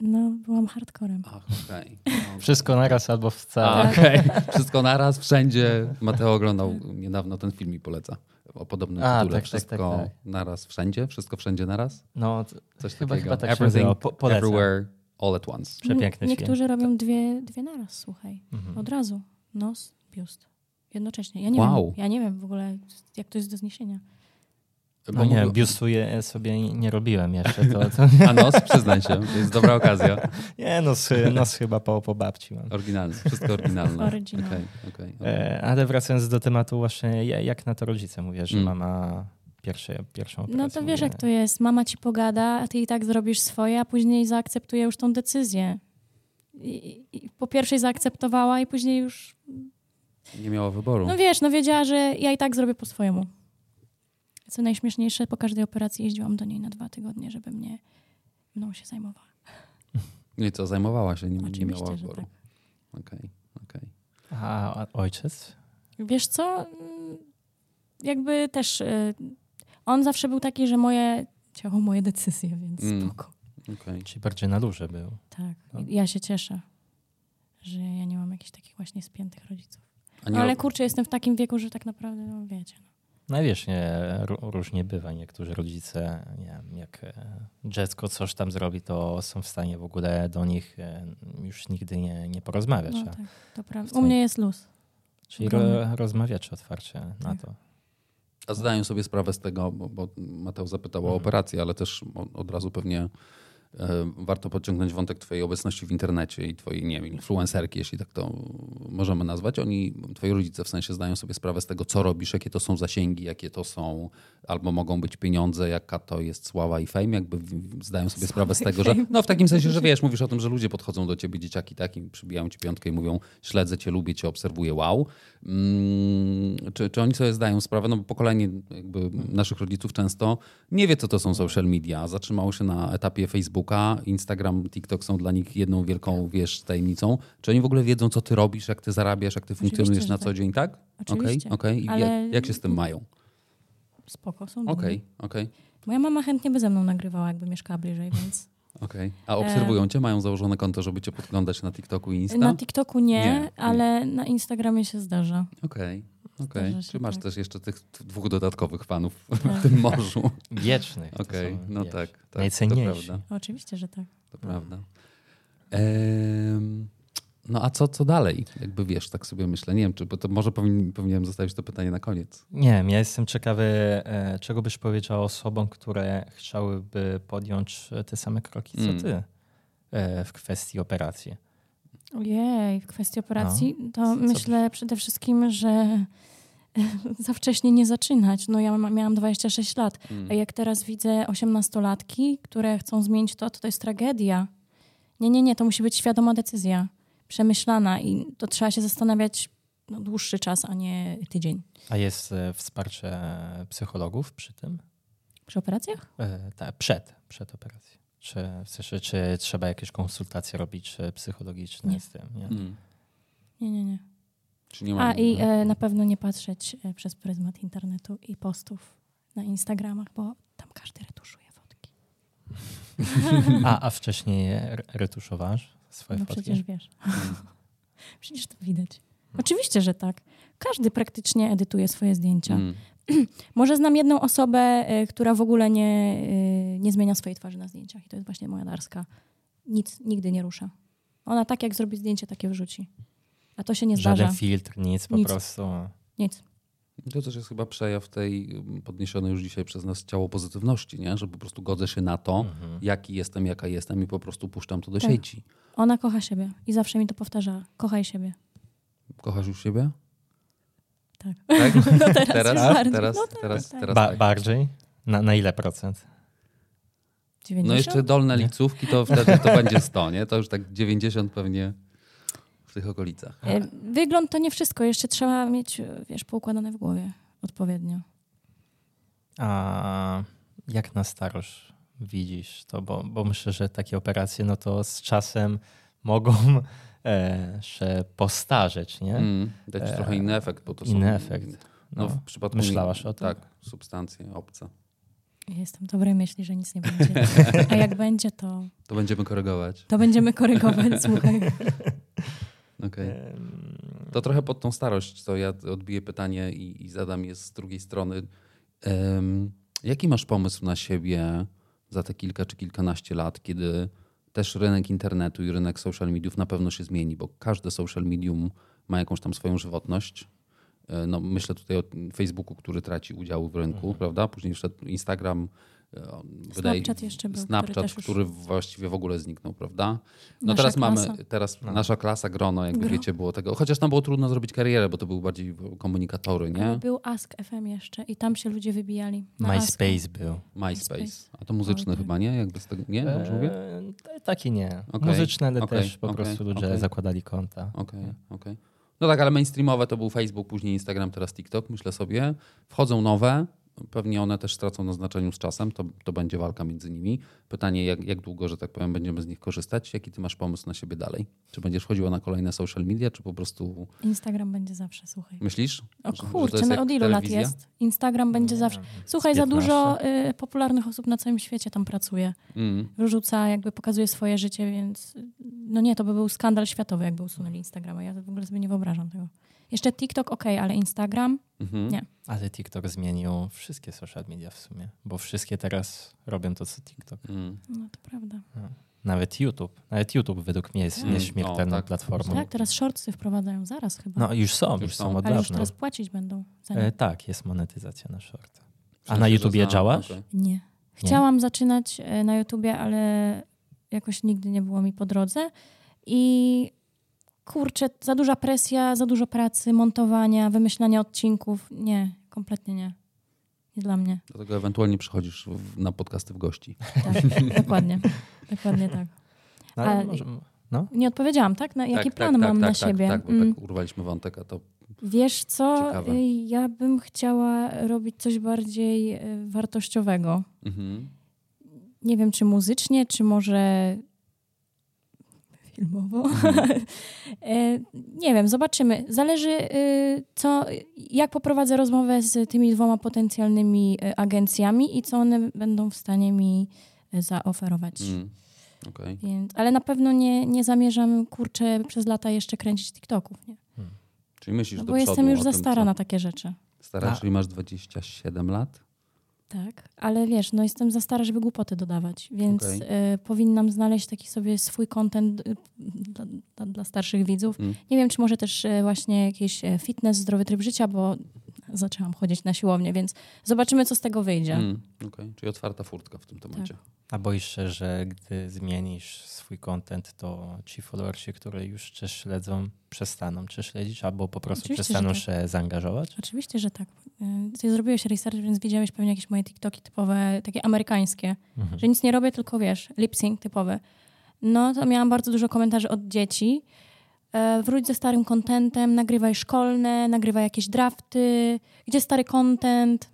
[SPEAKER 1] No, byłam hardcorem.
[SPEAKER 3] Ach,
[SPEAKER 2] (laughs)
[SPEAKER 3] okej.
[SPEAKER 2] Wszystko naraz albo wcale.
[SPEAKER 3] A, okej. Wszystko naraz, wszędzie. Mateo oglądał niedawno ten film i poleca o podobnym
[SPEAKER 2] A,
[SPEAKER 3] tytule.
[SPEAKER 2] tak, tak,
[SPEAKER 3] wszystko
[SPEAKER 2] tak, tak.
[SPEAKER 3] naraz, wszędzie? Wszystko wszędzie naraz?
[SPEAKER 2] No, to
[SPEAKER 3] Coś
[SPEAKER 2] Chyba- chyba
[SPEAKER 3] takiego.
[SPEAKER 2] tak się nazywa.
[SPEAKER 3] Everything,
[SPEAKER 2] Po- polecam.
[SPEAKER 3] everywhere, all at once.
[SPEAKER 2] przepiękny
[SPEAKER 1] Nie-
[SPEAKER 2] film. Mhm.
[SPEAKER 1] Niektórzy robią dwie, dwie naraz, słuchaj. Od razu. Nos, biust. Jednocześnie. Ja nie,
[SPEAKER 3] Wow.
[SPEAKER 1] wiem, ja nie wiem w ogóle, jak to jest do zniesienia.
[SPEAKER 2] No nie,
[SPEAKER 3] mówił-
[SPEAKER 2] biustuję sobie nie robiłem jeszcze. To, to...
[SPEAKER 3] (laughs) A nos, przyznaj się, to jest dobra okazja.
[SPEAKER 2] Nie, nos, nos chyba po, po babci mam.
[SPEAKER 3] Oryginalne, wszystko oryginalne.
[SPEAKER 1] Oryginalne.
[SPEAKER 3] Okej, okej, okej.
[SPEAKER 2] E, ale wracając do tematu właśnie, ja- jak na to rodzice mówię, że
[SPEAKER 3] Mm.
[SPEAKER 2] mama pierwsze, pierwszą operację.
[SPEAKER 1] No to wiesz,
[SPEAKER 2] mówię,
[SPEAKER 1] jak to jest. Mama ci pogada, a ty i tak zrobisz swoje, a później zaakceptuje już tą decyzję. I, i po pierwszej zaakceptowała i później już...
[SPEAKER 3] Nie miała wyboru.
[SPEAKER 1] No wiesz, no wiedziała, że ja i tak zrobię po swojemu. Co najśmieszniejsze, po każdej operacji jeździłam do niej na dwa tygodnie, żeby mnie mną się zajmowała.
[SPEAKER 3] No i co, zajmowała się, nie, nie
[SPEAKER 1] Oczywiście,
[SPEAKER 3] miała
[SPEAKER 1] że
[SPEAKER 3] wyboru.
[SPEAKER 1] tak.
[SPEAKER 3] Okej, okej.
[SPEAKER 2] A a ojciec?
[SPEAKER 1] tak. Wiesz co? Mm, Jakby też y, on zawsze był taki, że moje ciało, moje decyzje, więc
[SPEAKER 3] Mm.
[SPEAKER 1] spoko.
[SPEAKER 3] okej.
[SPEAKER 2] Czyli bardziej na duże był.
[SPEAKER 1] Tak.
[SPEAKER 3] No.
[SPEAKER 2] Tak.
[SPEAKER 1] I Ja się cieszę, że ja nie mam jakichś takich właśnie spiętych rodziców.
[SPEAKER 3] A nie
[SPEAKER 1] No, ale kurczę, jestem w takim wieku, że tak naprawdę, no wiecie. No.
[SPEAKER 2] No wiesz, nie, ró- różnie bywa. Niektórzy rodzice, nie wiem, jak e, dziecko coś tam zrobi, to są w stanie w ogóle do nich e, już nigdy nie, nie porozmawiać.
[SPEAKER 1] No
[SPEAKER 2] a-
[SPEAKER 1] tak, No. to prawda. U
[SPEAKER 2] Wcale.
[SPEAKER 1] mnie jest luz.
[SPEAKER 2] Czyli ro, rozmawiacie otwarcie na
[SPEAKER 1] Tak.
[SPEAKER 2] to.
[SPEAKER 3] A zdaję sobie sprawę z tego, bo, bo Mateusz zapytał o operację, ale też o- od razu pewnie e, warto podciągnąć wątek Twojej obecności w internecie i Twojej, nie wiem, influencerki, jeśli tak to możemy nazwać. Oni, Twoi rodzice w sensie zdają sobie sprawę z tego, co robisz, jakie to są zasięgi, jakie to są, albo mogą być pieniądze, jaka to jest sława i fame. Jakby w- zdają sobie sprawę z tego, że. No w takim sensie, że wiesz, mówisz o tym, że ludzie podchodzą do ciebie, dzieciaki, tak, i przybijają ci piątkę i mówią, śledzę cię, lubię cię, obserwuję, wow. Mm, czy, czy oni sobie zdają sprawę? No bo pokolenie jakby naszych rodziców często nie wie, co to są social media. Zatrzymało się na etapie Facebooka, Instagram, TikTok są dla nich jedną wielką, wiesz, tajemnicą. Czy oni w ogóle wiedzą, co ty robisz, jak ty zarabiasz, jak ty
[SPEAKER 1] Oczywiście,
[SPEAKER 3] funkcjonujesz na
[SPEAKER 1] że
[SPEAKER 3] co
[SPEAKER 1] tak.
[SPEAKER 3] dzień, tak?
[SPEAKER 1] Oczywiście,
[SPEAKER 3] Okej, okej. I
[SPEAKER 1] ale-
[SPEAKER 3] jak, jak się z tym mają?
[SPEAKER 1] Spoko, są dumni.
[SPEAKER 3] Okej, okej,
[SPEAKER 1] Moja mama chętnie by ze mną nagrywała, jakby mieszkała bliżej, więc...
[SPEAKER 3] okej. A obserwują cię? Mają założone konto, żeby cię podglądać na TikToku i Insta?
[SPEAKER 1] E- Na TikToku nie,
[SPEAKER 3] Nie,
[SPEAKER 1] ale na Instagramie się zdarza.
[SPEAKER 3] Okej, okej.
[SPEAKER 1] Zdarza się,
[SPEAKER 3] Czy masz
[SPEAKER 1] tak.
[SPEAKER 3] też jeszcze tych t- dwóch dodatkowych fanów w tym morzu?
[SPEAKER 2] Wiecznych. to
[SPEAKER 3] Okej,
[SPEAKER 2] są,
[SPEAKER 3] no
[SPEAKER 2] wiesz,
[SPEAKER 3] tak, tak.
[SPEAKER 2] najcenniejsi.
[SPEAKER 3] To prawda.
[SPEAKER 1] Oczywiście, że tak.
[SPEAKER 3] To prawda. Em, no a co, co dalej? Jakby wiesz, tak sobie myślę. Nie wiem, czy, bo to może powin, powinienem zostawić to pytanie na koniec.
[SPEAKER 2] Nie wiem, ja jestem ciekawy, e, czego byś powiedział osobom, które chciałyby podjąć e, te same kroki co
[SPEAKER 3] Mm.
[SPEAKER 2] ty e, w kwestii operacji.
[SPEAKER 1] Ojej, w kwestii operacji,
[SPEAKER 3] No.
[SPEAKER 1] to myślę przede wszystkim, że (laughs) za wcześnie nie zaczynać. No ja ma- miałam 26 lat,
[SPEAKER 3] Mm.
[SPEAKER 1] a jak teraz widzę 18-latki, które chcą zmienić to, to to jest tragedia. Nie, nie, nie, to musi być świadoma decyzja, przemyślana i to trzeba się zastanawiać no, dłuższy czas, a nie tydzień.
[SPEAKER 2] A jest e, wsparcie psychologów przy tym?
[SPEAKER 1] Przy operacjach?
[SPEAKER 2] E, ta, przed, przed operacją. Czy, w sensie, czy trzeba jakieś konsultacje robić e, psychologiczne
[SPEAKER 1] Nie.
[SPEAKER 2] z tym? Nie?
[SPEAKER 3] Mm.
[SPEAKER 1] Nie, nie, nie.
[SPEAKER 3] Czy nie
[SPEAKER 1] A
[SPEAKER 3] ma
[SPEAKER 1] i e, na pewno nie patrzeć e, przez pryzmat internetu i postów na Instagramach, bo tam każdy retuszuje fotki.
[SPEAKER 2] A, a wcześniej re- retuszowasz swoje
[SPEAKER 1] No przecież
[SPEAKER 2] fotki?
[SPEAKER 1] wiesz.
[SPEAKER 3] Mm.
[SPEAKER 1] przecież to widać. Oczywiście, że tak. Każdy praktycznie edytuje swoje zdjęcia.
[SPEAKER 3] Mm.
[SPEAKER 1] Może znam jedną osobę, e, która w ogóle nie, e, nie zmienia swojej twarzy na zdjęciach. I to jest właśnie moja Darska. Nic, nigdy nie rusza. Ona tak jak zrobi zdjęcie, takie wrzuci. A to się nie zdarza.
[SPEAKER 2] Żaden filtr, nic, po
[SPEAKER 1] Nic.
[SPEAKER 2] prostu.
[SPEAKER 1] Nic.
[SPEAKER 3] No To też jest chyba przejaw tej mm, podniesionej już dzisiaj przez nas ciało pozytywności, nie? że po prostu godzę się na to,
[SPEAKER 2] Mhm.
[SPEAKER 3] jaki jestem, jaka jestem i po prostu puszczam to do
[SPEAKER 1] Tak.
[SPEAKER 3] sieci.
[SPEAKER 1] Ona kocha siebie i zawsze mi to powtarza. Kochaj
[SPEAKER 3] (laughs)
[SPEAKER 1] siebie.
[SPEAKER 3] Kochasz już siebie?
[SPEAKER 1] Tak.
[SPEAKER 3] Tak?
[SPEAKER 1] No teraz,
[SPEAKER 3] teraz,
[SPEAKER 1] już bardziej.
[SPEAKER 3] teraz,
[SPEAKER 1] No,
[SPEAKER 3] teraz, teraz.
[SPEAKER 2] Ba-
[SPEAKER 3] tak.
[SPEAKER 2] bardziej? Na, na ile procent?
[SPEAKER 1] 90?
[SPEAKER 3] No jeszcze dolne licówki, to wtedy to będzie 100, nie? To już tak 90 pewnie w tych okolicach.
[SPEAKER 1] E, Wygląd to nie wszystko. Jeszcze trzeba mieć, e, wiesz, poukładane w głowie odpowiednio.
[SPEAKER 2] A jak na starość widzisz to? Bo, bo myślę, że takie operacje no to z czasem mogą (laughs) e, się postarzeć, nie? E,
[SPEAKER 3] Mm, dać trochę inny efekt, bo to są...
[SPEAKER 2] Inny efekt.
[SPEAKER 3] No,
[SPEAKER 2] No,
[SPEAKER 3] w przypadku...
[SPEAKER 2] myślałaś o tym?
[SPEAKER 3] Tak, substancje obce.
[SPEAKER 1] Ja Jestem dobrej myśli, że nic nie będzie. A jak będzie, to,
[SPEAKER 3] To będziemy korygować.
[SPEAKER 1] to będziemy korygować, (laughs) słuchaj.
[SPEAKER 2] E,
[SPEAKER 3] Okej.
[SPEAKER 2] Em,
[SPEAKER 3] To trochę pod tą starość, to ja odbiję pytanie i, i zadam je z drugiej strony. Em, jaki masz pomysł na siebie za te kilka czy kilkanaście lat, kiedy też rynek internetu i rynek social mediów na pewno się zmieni, bo każde social medium ma jakąś tam swoją żywotność. E, No, myślę tutaj o Facebooku, który traci udział w rynku,
[SPEAKER 1] Mhm.
[SPEAKER 3] prawda? Później wszedł Instagram. e, on
[SPEAKER 1] Snapchat jeszcze był, który
[SPEAKER 3] Snapchat, który,
[SPEAKER 1] też już-
[SPEAKER 3] właściwie w ogóle zniknął, prawda? No
[SPEAKER 1] Nasza
[SPEAKER 3] teraz mamy,
[SPEAKER 1] klasa.
[SPEAKER 3] teraz nasza klasa, grono, jakby
[SPEAKER 1] Gro.
[SPEAKER 3] wiecie, było tego. Chociaż tam było trudno zrobić karierę, bo to były bardziej w- komunikatory,
[SPEAKER 1] Ale
[SPEAKER 3] nie?
[SPEAKER 1] Był Ask FM jeszcze i tam się ludzie wybijali. Na Asku.
[SPEAKER 2] MySpace był.
[SPEAKER 3] MySpace.
[SPEAKER 1] MySpace.
[SPEAKER 3] A to muzyczny
[SPEAKER 1] Oj, tak.
[SPEAKER 3] chyba, nie? Jakby z tego, nie? Dobrze mówię?
[SPEAKER 2] E, t- Taki nie.
[SPEAKER 3] Okej,
[SPEAKER 2] Muzyczne, ale
[SPEAKER 3] okej,
[SPEAKER 2] też po
[SPEAKER 3] okej,
[SPEAKER 2] prostu ludzie
[SPEAKER 3] okej.
[SPEAKER 2] zakładali konta.
[SPEAKER 3] Okej, okej. No tak, ale mainstreamowe to był Facebook, później Instagram, teraz TikTok, myślę sobie. Wchodzą nowe, pewnie one też stracą na znaczeniu z czasem, to, to będzie walka między nimi. Pytanie, jak, jak długo, że tak powiem, będziemy z nich korzystać? Jaki ty masz pomysł na siebie dalej? Czy będziesz chodziła na kolejne social media, czy po prostu
[SPEAKER 1] Instagram będzie zawsze, słuchaj.
[SPEAKER 3] myślisz?
[SPEAKER 1] O
[SPEAKER 3] że- że to
[SPEAKER 1] kurczę,
[SPEAKER 3] jest
[SPEAKER 1] no
[SPEAKER 3] jak
[SPEAKER 1] od ilu lat
[SPEAKER 3] telewizja?
[SPEAKER 1] jest? Instagram będzie zawsze.
[SPEAKER 2] Mm,
[SPEAKER 1] Słuchaj, za
[SPEAKER 2] 15.
[SPEAKER 1] dużo y, popularnych osób na całym świecie tam pracuje.
[SPEAKER 3] Mm.
[SPEAKER 1] Rzuca, jakby pokazuje swoje życie, więc y, no nie, to by był skandal światowy, jakby usunęli Instagrama. Ja w ogóle sobie nie wyobrażam tego. Jeszcze TikTok okej, ale Instagram?
[SPEAKER 3] Mhm.
[SPEAKER 1] Nie.
[SPEAKER 2] Ale TikTok zmienił wszystkie social media w sumie, bo wszystkie teraz robią to, co TikTok.
[SPEAKER 3] Mm.
[SPEAKER 1] No to prawda.
[SPEAKER 2] Nawet YouTube. Nawet YouTube według mnie jest
[SPEAKER 1] Mm,
[SPEAKER 2] nieśmiertelną
[SPEAKER 3] no, tak.
[SPEAKER 2] platformą.
[SPEAKER 1] Tak, teraz shortsy wprowadzają zaraz chyba.
[SPEAKER 2] No już są,
[SPEAKER 3] Już
[SPEAKER 2] już,
[SPEAKER 3] są.
[SPEAKER 2] są od
[SPEAKER 1] ale już
[SPEAKER 2] dawna.
[SPEAKER 1] teraz płacić będą za nie.
[SPEAKER 2] E, tak, jest monetyzacja na short.
[SPEAKER 3] W
[SPEAKER 2] A
[SPEAKER 3] sensie,
[SPEAKER 2] na
[SPEAKER 3] że
[SPEAKER 2] YouTubie
[SPEAKER 3] za-
[SPEAKER 2] działasz?
[SPEAKER 3] okej.
[SPEAKER 1] Nie. Chciałam zaczynać e, na YouTubie, ale jakoś nigdy nie było mi po drodze. I kurczę, za duża presja, za dużo pracy, montowania, wymyślania odcinków. Nie, kompletnie nie. Nie dla mnie.
[SPEAKER 3] Dlatego ewentualnie przychodzisz w, na podcasty w gości.
[SPEAKER 1] Tak,
[SPEAKER 3] (laughs)
[SPEAKER 1] dokładnie. Dokładnie tak.
[SPEAKER 2] No, ale
[SPEAKER 1] Ale-
[SPEAKER 2] może, no?
[SPEAKER 1] Nie odpowiedziałam, tak? Na, jaki
[SPEAKER 3] tak,
[SPEAKER 1] plan
[SPEAKER 3] tak,
[SPEAKER 1] mam
[SPEAKER 3] tak,
[SPEAKER 1] na
[SPEAKER 3] tak,
[SPEAKER 1] siebie?
[SPEAKER 3] Tak, tak, bo
[SPEAKER 1] Mm.
[SPEAKER 3] tak urwaliśmy wątek, a to
[SPEAKER 1] Wiesz co?
[SPEAKER 3] Ciekawe.
[SPEAKER 1] Y, Ja bym chciała robić coś bardziej y, wartościowego.
[SPEAKER 3] mhm.
[SPEAKER 1] nie wiem, czy muzycznie, czy może filmowo.
[SPEAKER 3] Mhm.
[SPEAKER 1] (laughs) E, nie wiem, zobaczymy. Zależy, y, co, jak poprowadzę rozmowę z tymi dwoma potencjalnymi y, agencjami i co one będą w stanie mi y, zaoferować.
[SPEAKER 3] Mm. Okej.
[SPEAKER 1] Więc, ale na pewno nie, nie zamierzam, kurczę, przez lata jeszcze kręcić TikToków, nie?
[SPEAKER 3] Czyli myślisz
[SPEAKER 1] No
[SPEAKER 3] do
[SPEAKER 1] bo
[SPEAKER 3] przodu
[SPEAKER 1] jestem już
[SPEAKER 3] o
[SPEAKER 1] za
[SPEAKER 3] tym,
[SPEAKER 1] stara
[SPEAKER 3] co-
[SPEAKER 1] na takie rzeczy.
[SPEAKER 3] Stara,
[SPEAKER 2] A.
[SPEAKER 3] czyli masz 27 lat?
[SPEAKER 1] Tak, ale wiesz, no jestem za stara, żeby głupoty dodawać, więc
[SPEAKER 3] Okej.
[SPEAKER 1] e, powinnam znaleźć taki sobie swój content e, dla, dla, dla starszych widzów.
[SPEAKER 3] Mm.
[SPEAKER 1] Nie wiem, czy może też e, właśnie jakiś e, fitness, zdrowy tryb życia, bo zaczęłam chodzić na siłownię, więc zobaczymy, co z tego wyjdzie.
[SPEAKER 3] Mm, okej. Czyli otwarta furtka w
[SPEAKER 1] Tak.
[SPEAKER 3] tym temacie.
[SPEAKER 2] A boisz się, że gdy zmienisz swój content, to ci followersi, które już cię śledzą, przestaną cię śledzić albo po prostu
[SPEAKER 1] Oczywiście,
[SPEAKER 2] przestaną
[SPEAKER 1] że tak.
[SPEAKER 2] się zaangażować?
[SPEAKER 1] Oczywiście, że tak. Y, Ty zrobiłeś research, więc widziałeś pewnie jakieś moje TikToki typowe, takie amerykańskie,
[SPEAKER 2] Mhm.
[SPEAKER 1] że nic nie robię, tylko wiesz, lip sync typowy. No to miałam bardzo dużo komentarzy od dzieci. E, wróć ze starym contentem, nagrywaj szkolne, nagrywaj jakieś drafty, gdzie stary content.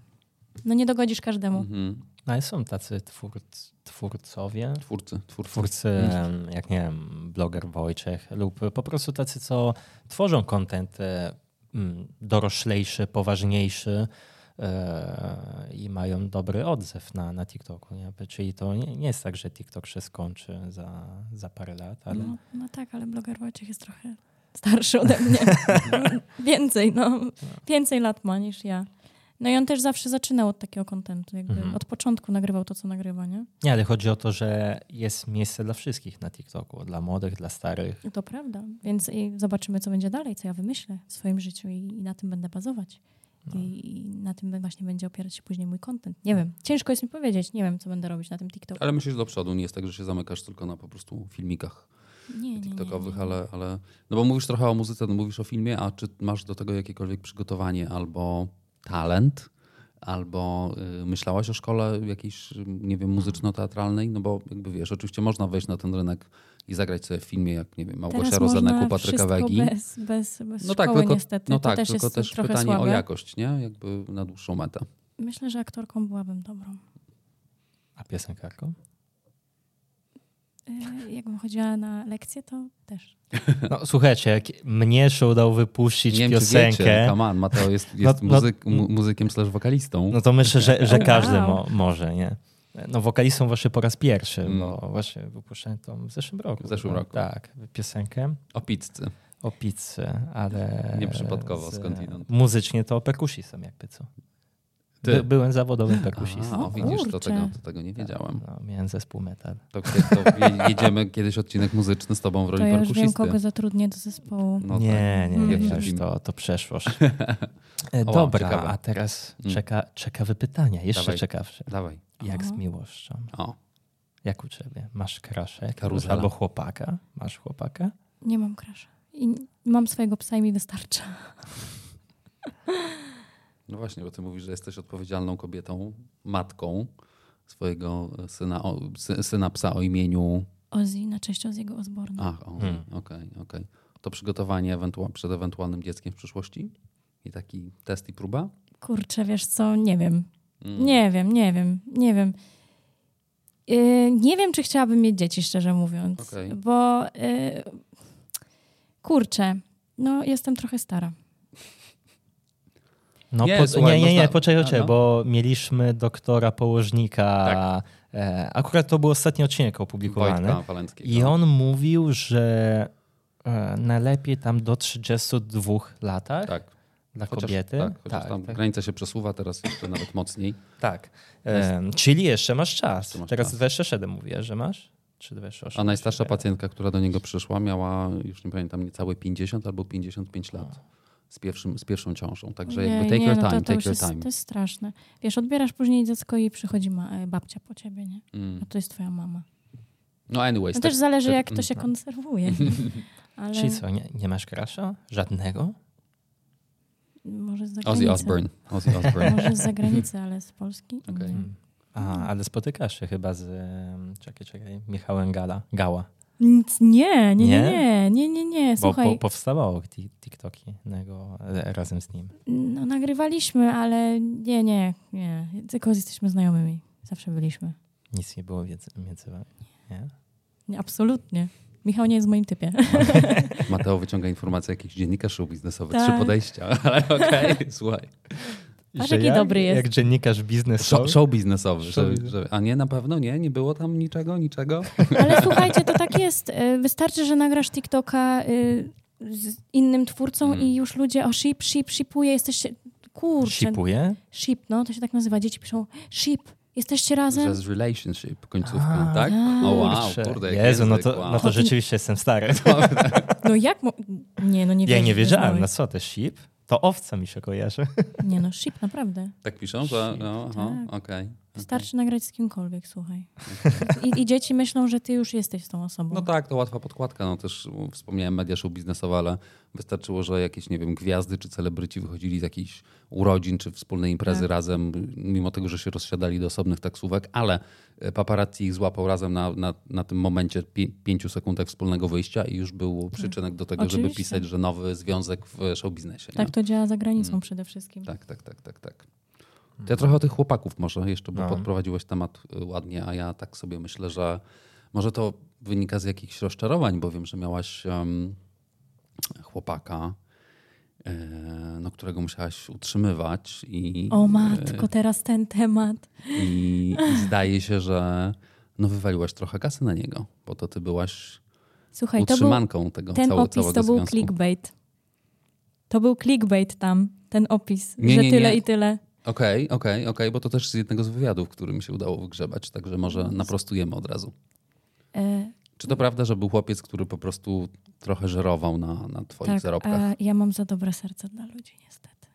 [SPEAKER 1] No nie dogodzisz każdemu.
[SPEAKER 3] Mhm.
[SPEAKER 2] No ale są tacy twórc, twórcowie,
[SPEAKER 3] Twórcy, twórcy.
[SPEAKER 2] twórcy,
[SPEAKER 3] Mhm.
[SPEAKER 2] em, jak nie wiem, bloger Wojciech lub po prostu tacy, co tworzą content e, mm, doroślejszy, poważniejszy e, i mają dobry odzew na, na TikToku. Nie? Czyli to nie, nie jest tak, że TikTok się skończy za, za parę lat, ale...
[SPEAKER 1] No, no tak, ale bloger Wojciech jest trochę starszy ode
[SPEAKER 2] (laughs)
[SPEAKER 1] mnie. więcej, no.
[SPEAKER 2] Mhm.
[SPEAKER 1] Więcej lat ma niż ja. No i on też zawsze zaczynał od takiego kontentu, jakby
[SPEAKER 2] Mhm.
[SPEAKER 1] od początku nagrywał to, co nagrywa, nie?
[SPEAKER 2] Nie, ale chodzi o to, że jest miejsce dla wszystkich na TikToku, dla młodych, dla starych.
[SPEAKER 1] To prawda. Więc i zobaczymy, co będzie dalej, co ja wymyślę w swoim życiu i, i na tym będę bazować.
[SPEAKER 3] No.
[SPEAKER 1] I, I na tym be- właśnie będzie opierać się później mój content. Nie wiem, ciężko jest mi powiedzieć, nie wiem, co będę robić na tym TikToku.
[SPEAKER 3] Ale myślisz do przodu, nie jest tak, że się zamykasz tylko na po prostu filmikach
[SPEAKER 1] Nie, nie, nie, nie,
[SPEAKER 3] TikTokowych,
[SPEAKER 1] nie.
[SPEAKER 3] ale, ale... No bo mówisz trochę o muzyce, no mówisz o filmie, a czy masz do tego jakiekolwiek przygotowanie albo talent? Albo y, myślałaś o szkole jakiejś, y, nie wiem, muzyczno-teatralnej? No bo jakby wiesz, oczywiście można wejść na ten rynek i zagrać sobie w filmie, jak nie wiem, Małgosia
[SPEAKER 1] Teraz można
[SPEAKER 3] Rozeneku, Patryka
[SPEAKER 1] wszystko
[SPEAKER 3] Wegi.
[SPEAKER 1] Bez, bez, bez
[SPEAKER 3] No
[SPEAKER 1] szkoły
[SPEAKER 3] tak, tylko,
[SPEAKER 1] niestety.
[SPEAKER 3] no
[SPEAKER 1] To
[SPEAKER 3] tak,
[SPEAKER 1] też
[SPEAKER 3] tylko
[SPEAKER 1] jest
[SPEAKER 3] też
[SPEAKER 1] trochę
[SPEAKER 3] pytanie
[SPEAKER 1] słabe.
[SPEAKER 3] o jakość, nie? Jakby na dłuższą metę.
[SPEAKER 1] Myślę, że aktorką byłabym dobrą.
[SPEAKER 2] A
[SPEAKER 3] (laughs)
[SPEAKER 2] piosenkarką?
[SPEAKER 1] E, Jakbym chodziła na lekcje, to też.
[SPEAKER 2] No słuchajcie, jak mnie się udało wypuścić
[SPEAKER 3] nie wiem, czy wiecie, no
[SPEAKER 2] piosenkę,
[SPEAKER 3] come on, Mateo jest, jest
[SPEAKER 2] No- no-
[SPEAKER 3] muzyk, mu, muzykiem slash wokalistą.
[SPEAKER 2] no to myślę, że, że
[SPEAKER 1] Wow.
[SPEAKER 2] każdy mo może, nie? No wokalistą właśnie po raz pierwszy,
[SPEAKER 3] Mm.
[SPEAKER 2] bo właśnie wypuszczałem tą w zeszłym roku.
[SPEAKER 3] W zeszłym
[SPEAKER 2] No,
[SPEAKER 3] roku.
[SPEAKER 2] Tak, piosenkę
[SPEAKER 3] O pizzy.
[SPEAKER 2] o pizzy, ale...
[SPEAKER 3] Nieprzypadkowo, skądinąd.
[SPEAKER 2] Muzycznie to perkusistą jakby co.
[SPEAKER 3] Ty.
[SPEAKER 2] By, byłem zawodowym
[SPEAKER 3] Aha,
[SPEAKER 2] perkusistą.
[SPEAKER 3] o, widzisz, to
[SPEAKER 1] kurczę.
[SPEAKER 3] tego, to tego nie wiedziałem.
[SPEAKER 2] No, miałem zespół metal.
[SPEAKER 3] To, to je- jedziemy kiedyś odcinek muzyczny z tobą w
[SPEAKER 1] To
[SPEAKER 3] roli
[SPEAKER 1] ja już wiem,
[SPEAKER 3] perkusisty.
[SPEAKER 1] kogo zatrudnię do zespołu.
[SPEAKER 3] No
[SPEAKER 2] nie,
[SPEAKER 1] Mm.
[SPEAKER 2] nie, nie,
[SPEAKER 1] Pierwszy
[SPEAKER 2] wiesz,
[SPEAKER 3] film.
[SPEAKER 2] to, to
[SPEAKER 3] (laughs)
[SPEAKER 2] przeszłość. E,
[SPEAKER 3] O,
[SPEAKER 2] Dobra,
[SPEAKER 3] ciekawe.
[SPEAKER 2] a teraz
[SPEAKER 3] Mm.
[SPEAKER 2] czeka, ciekawe pytania, jeszcze
[SPEAKER 3] Dawaj.
[SPEAKER 2] ciekawsze.
[SPEAKER 3] tak, Dawaj.
[SPEAKER 2] Jak z
[SPEAKER 1] Aha.
[SPEAKER 2] miłością?
[SPEAKER 3] O,
[SPEAKER 2] Jak u ciebie? Masz krasze?
[SPEAKER 3] Karuzela.
[SPEAKER 2] Albo chłopaka? Masz chłopaka?
[SPEAKER 1] Nie mam krasza. I mam swojego psa i mi wystarcza.
[SPEAKER 3] no właśnie, bo ty mówisz, że jesteś odpowiedzialną kobietą, matką swojego syna, o, sy, syna psa o imieniu...
[SPEAKER 1] Ozzy na cześć Ozzy'ego Osborna.
[SPEAKER 3] Ach, o,
[SPEAKER 2] Hmm.
[SPEAKER 3] okej, okej. To przygotowanie ewentua- przed ewentualnym dzieckiem w przyszłości? I taki test i próba?
[SPEAKER 1] Kurczę, wiesz co, nie wiem.
[SPEAKER 3] Mm.
[SPEAKER 1] Nie wiem, nie wiem, nie wiem. Yy, nie wiem, czy chciałabym mieć dzieci, szczerze mówiąc.
[SPEAKER 3] Okej.
[SPEAKER 1] Bo yy, kurczę, no jestem trochę stara.
[SPEAKER 2] No,
[SPEAKER 3] Nie,
[SPEAKER 2] po,
[SPEAKER 3] słuchaj,
[SPEAKER 2] nie, nie, nie,
[SPEAKER 3] można-
[SPEAKER 2] poczekaj,
[SPEAKER 3] A,
[SPEAKER 2] poczekaj,
[SPEAKER 3] no. Tak.
[SPEAKER 2] bo mieliśmy doktora położnika. E, akurat to był ostatni odcinek opublikowany.
[SPEAKER 3] Wojtka Walenckiego.
[SPEAKER 2] I on mówił, że e, najlepiej tam do 32 latach
[SPEAKER 3] Tak.
[SPEAKER 2] dla
[SPEAKER 3] Chociaż,
[SPEAKER 2] kobiety.
[SPEAKER 3] Tak, chociaż
[SPEAKER 2] tak,
[SPEAKER 3] tam
[SPEAKER 2] tak,
[SPEAKER 3] granica się przesuwa teraz jeszcze nawet mocniej.
[SPEAKER 2] tak. Em, czyli jeszcze masz czas.
[SPEAKER 3] Jeszcze masz
[SPEAKER 2] Teraz
[SPEAKER 3] czas.
[SPEAKER 2] 27 mówię, że masz? Czy 28?
[SPEAKER 3] A najstarsza pacjentka, która do niego przyszła, miała, już nie pamiętam, niecałe 50 albo 55
[SPEAKER 2] No.
[SPEAKER 3] lat z, pierwszym, z pierwszą ciążą. Także jakby take your
[SPEAKER 1] no
[SPEAKER 3] time,
[SPEAKER 1] to, to, już
[SPEAKER 3] take your
[SPEAKER 1] jest,
[SPEAKER 3] time.
[SPEAKER 1] to jest straszne. Wiesz, odbierasz później dziecko i przychodzi ma, e, babcia po ciebie, nie?
[SPEAKER 3] Mm.
[SPEAKER 1] A to jest twoja mama.
[SPEAKER 3] No anyways.
[SPEAKER 1] No
[SPEAKER 3] tak-
[SPEAKER 1] też zależy,
[SPEAKER 3] tak-
[SPEAKER 1] jak to się konserwuje.
[SPEAKER 3] (laughs)
[SPEAKER 1] Ale
[SPEAKER 2] Czyli co, nie, nie masz krasza? Żadnego?
[SPEAKER 1] może z zagranicy.
[SPEAKER 3] Ozzy Osbourne. Ozzy Osbourne.
[SPEAKER 1] Może z zagranicy, ale z Polski.
[SPEAKER 3] (laughs) Okej.
[SPEAKER 1] Nie.
[SPEAKER 2] Hmm. A, ale spotykasz się chyba z, em, czekaj, czekaj, Michałem Gala, Gała.
[SPEAKER 1] Nic, nie, nie, nie,
[SPEAKER 2] Nie?
[SPEAKER 1] nie, nie, nie, nie.
[SPEAKER 2] Bo
[SPEAKER 1] Słuchaj,
[SPEAKER 2] po, powstawało ti- TikToki nego, e, razem z nim.
[SPEAKER 1] no, nagrywaliśmy, ale nie, nie, nie. Tylko jesteśmy znajomymi. Zawsze byliśmy.
[SPEAKER 2] Nic nie było między, między wami. Nie?
[SPEAKER 1] Nie, absolutnie. Michał nie jest w moim
[SPEAKER 2] (laughs)
[SPEAKER 1] typie.
[SPEAKER 3] Mateo wyciąga informacje jakichś dziennikarzy biznesowych.
[SPEAKER 1] Tak.
[SPEAKER 3] Trzy podejścia, (laughs) ale okej, słuchaj.
[SPEAKER 1] Patrz,
[SPEAKER 2] Że
[SPEAKER 1] jaki
[SPEAKER 2] jak-
[SPEAKER 1] dobry jest.
[SPEAKER 2] Jak dziennikarz biznesowy.
[SPEAKER 3] Show, show biznesowy.
[SPEAKER 2] Show
[SPEAKER 3] że-
[SPEAKER 2] biznes-
[SPEAKER 3] że- a nie, na pewno nie? Nie było tam niczego, niczego?
[SPEAKER 1] Ale słuchajcie, to tak jest. Y, Wystarczy, że nagrasz TikToka y, z innym twórcą
[SPEAKER 3] Mm.
[SPEAKER 1] i już ludzie, o ship, ship, shipuje, jesteście... Kurczę,
[SPEAKER 2] Shipuje?
[SPEAKER 1] ship, no, to się tak nazywa. Dzieci piszą, ship, jesteście razem?
[SPEAKER 3] Przez relationship, końcówka,
[SPEAKER 2] A,
[SPEAKER 3] tak? O wow,
[SPEAKER 2] Kurczę,
[SPEAKER 3] kurde. jak
[SPEAKER 2] Jezu, no
[SPEAKER 3] język,
[SPEAKER 2] to,
[SPEAKER 3] wow.
[SPEAKER 2] no to rzeczywiście jestem stary.
[SPEAKER 1] No jak... Mo- nie, no nie
[SPEAKER 2] Ja
[SPEAKER 1] wierzę,
[SPEAKER 2] nie
[SPEAKER 1] że
[SPEAKER 2] wiedziałem, no. na
[SPEAKER 1] znałeś.
[SPEAKER 2] co te ship? To owca mi się
[SPEAKER 3] (laughs)
[SPEAKER 2] kojarzy.
[SPEAKER 1] Nie no, ship,
[SPEAKER 2] (laughs)
[SPEAKER 1] naprawdę.
[SPEAKER 3] (laughs) Tak piszą? Że,
[SPEAKER 1] Shit,
[SPEAKER 3] no, aha,
[SPEAKER 1] tak.
[SPEAKER 3] okej.
[SPEAKER 1] Wystarczy nagrać z kimkolwiek,
[SPEAKER 2] (laughs)
[SPEAKER 1] słuchaj. I, I dzieci myślą, że ty już jesteś tą osobą.
[SPEAKER 3] No tak, to łatwa podkładka. No też mm, wspomniałem media show biznesowe, ale wystarczyło, że jakieś, nie wiem, gwiazdy czy celebryci wychodzili z jakichś urodzin czy wspólnej imprezy razem, mimo tego, że się rozsiadali do osobnych taksówek, ale e, paparazzi ich złapał razem na, na, na tym momencie pi- pięciu sekundach wspólnego wyjścia i już był przyczynek do tego, żeby
[SPEAKER 1] Oczywiście.
[SPEAKER 3] pisać, że nowy związek w show biznesie.
[SPEAKER 1] Tak to działa za granicą przede wszystkim.
[SPEAKER 3] Tak, tak, tak, tak, tak. To ja trochę o tych chłopaków może jeszcze, bo
[SPEAKER 2] No.
[SPEAKER 3] podprowadziłeś temat y, ładnie, a ja tak sobie myślę, że może to wynika z jakichś rozczarowań, bo wiem, że miałaś em, chłopaka, e, no, którego musiałaś utrzymywać i,
[SPEAKER 1] O matko, teraz ten temat.
[SPEAKER 3] i, i zdaje się, że no, wywaliłaś trochę kasy na niego, bo to ty byłaś
[SPEAKER 1] Słuchaj, to był
[SPEAKER 3] utrzymanką tego
[SPEAKER 1] ten
[SPEAKER 3] całe,
[SPEAKER 1] opis,
[SPEAKER 3] całego
[SPEAKER 1] to był
[SPEAKER 3] związku.
[SPEAKER 1] clickbait. To był clickbait tam, ten opis,
[SPEAKER 3] Nie,
[SPEAKER 1] że
[SPEAKER 3] nie,
[SPEAKER 1] tyle
[SPEAKER 3] nie.
[SPEAKER 1] i tyle.
[SPEAKER 3] Okej, okej, okej, bo to też z jednego z wywiadów, który mi się udało wygrzebać, także
[SPEAKER 1] No.
[SPEAKER 3] może naprostujemy od razu.
[SPEAKER 1] E,
[SPEAKER 3] Czy to prawda, że był chłopiec, który po prostu trochę żerował na, na twoich
[SPEAKER 1] tak,
[SPEAKER 3] zarobkach?
[SPEAKER 1] a ja mam za dobre serce dla ludzi, niestety.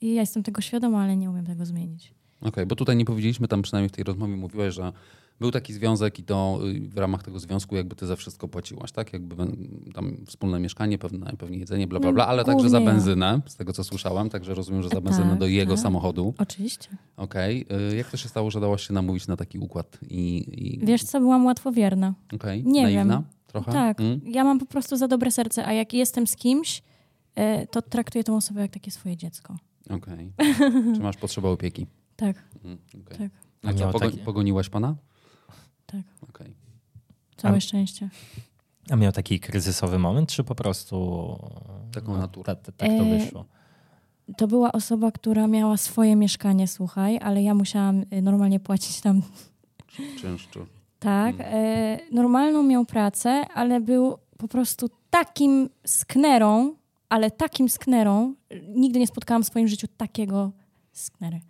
[SPEAKER 1] I ja jestem tego świadoma, ale nie umiem tego zmienić.
[SPEAKER 3] Okej, bo tutaj nie powiedzieliśmy, tam przynajmniej w tej rozmowie mówiłeś, że był taki związek i to y, w ramach tego związku jakby ty za wszystko płaciłaś, tak? Jakby ben- tam wspólne mieszkanie, pewne, pewnie jedzenie, bla, bla,
[SPEAKER 1] No,
[SPEAKER 3] bla, ale także za
[SPEAKER 1] głównie ja.
[SPEAKER 3] benzynę, z tego co słyszałem, także rozumiem, że za
[SPEAKER 1] E,
[SPEAKER 3] benzynę
[SPEAKER 1] tak,
[SPEAKER 3] do jego
[SPEAKER 1] tak.
[SPEAKER 3] samochodu.
[SPEAKER 1] Oczywiście.
[SPEAKER 3] Okej, y, jak to się stało, że dałaś się namówić na taki układ i... i
[SPEAKER 1] Wiesz co, byłam łatwowierna.
[SPEAKER 3] okej,
[SPEAKER 1] nie wiem.
[SPEAKER 3] naiwna trochę?
[SPEAKER 1] Tak,
[SPEAKER 3] Mm?
[SPEAKER 1] ja mam po prostu za dobre serce, a jak jestem z kimś, e, to traktuję tą osobę jak takie swoje dziecko. (laughs)
[SPEAKER 3] Okej. Czy masz potrzebę opieki?
[SPEAKER 1] Tak,
[SPEAKER 3] Mm, okej.
[SPEAKER 1] tak,
[SPEAKER 3] A co,
[SPEAKER 2] Miał
[SPEAKER 3] pogo-
[SPEAKER 2] takie-
[SPEAKER 3] pogoniłaś pana?
[SPEAKER 1] tak.
[SPEAKER 3] Okej.
[SPEAKER 1] Całe
[SPEAKER 2] A-
[SPEAKER 1] szczęście.
[SPEAKER 2] A miał taki kryzysowy moment, czy po prostu...
[SPEAKER 3] Taką naturę.
[SPEAKER 2] Ta, ta, tak to
[SPEAKER 1] E,
[SPEAKER 2] wyszło.
[SPEAKER 1] To była osoba, która miała swoje mieszkanie, słuchaj, ale ja musiałam y, normalnie płacić tam.
[SPEAKER 3] Częszczu.
[SPEAKER 1] Tak, e, normalną miał pracę, ale był po prostu takim sknerą, ale takim sknerą, y, nigdy nie spotkałam w swoim życiu takiego sknery.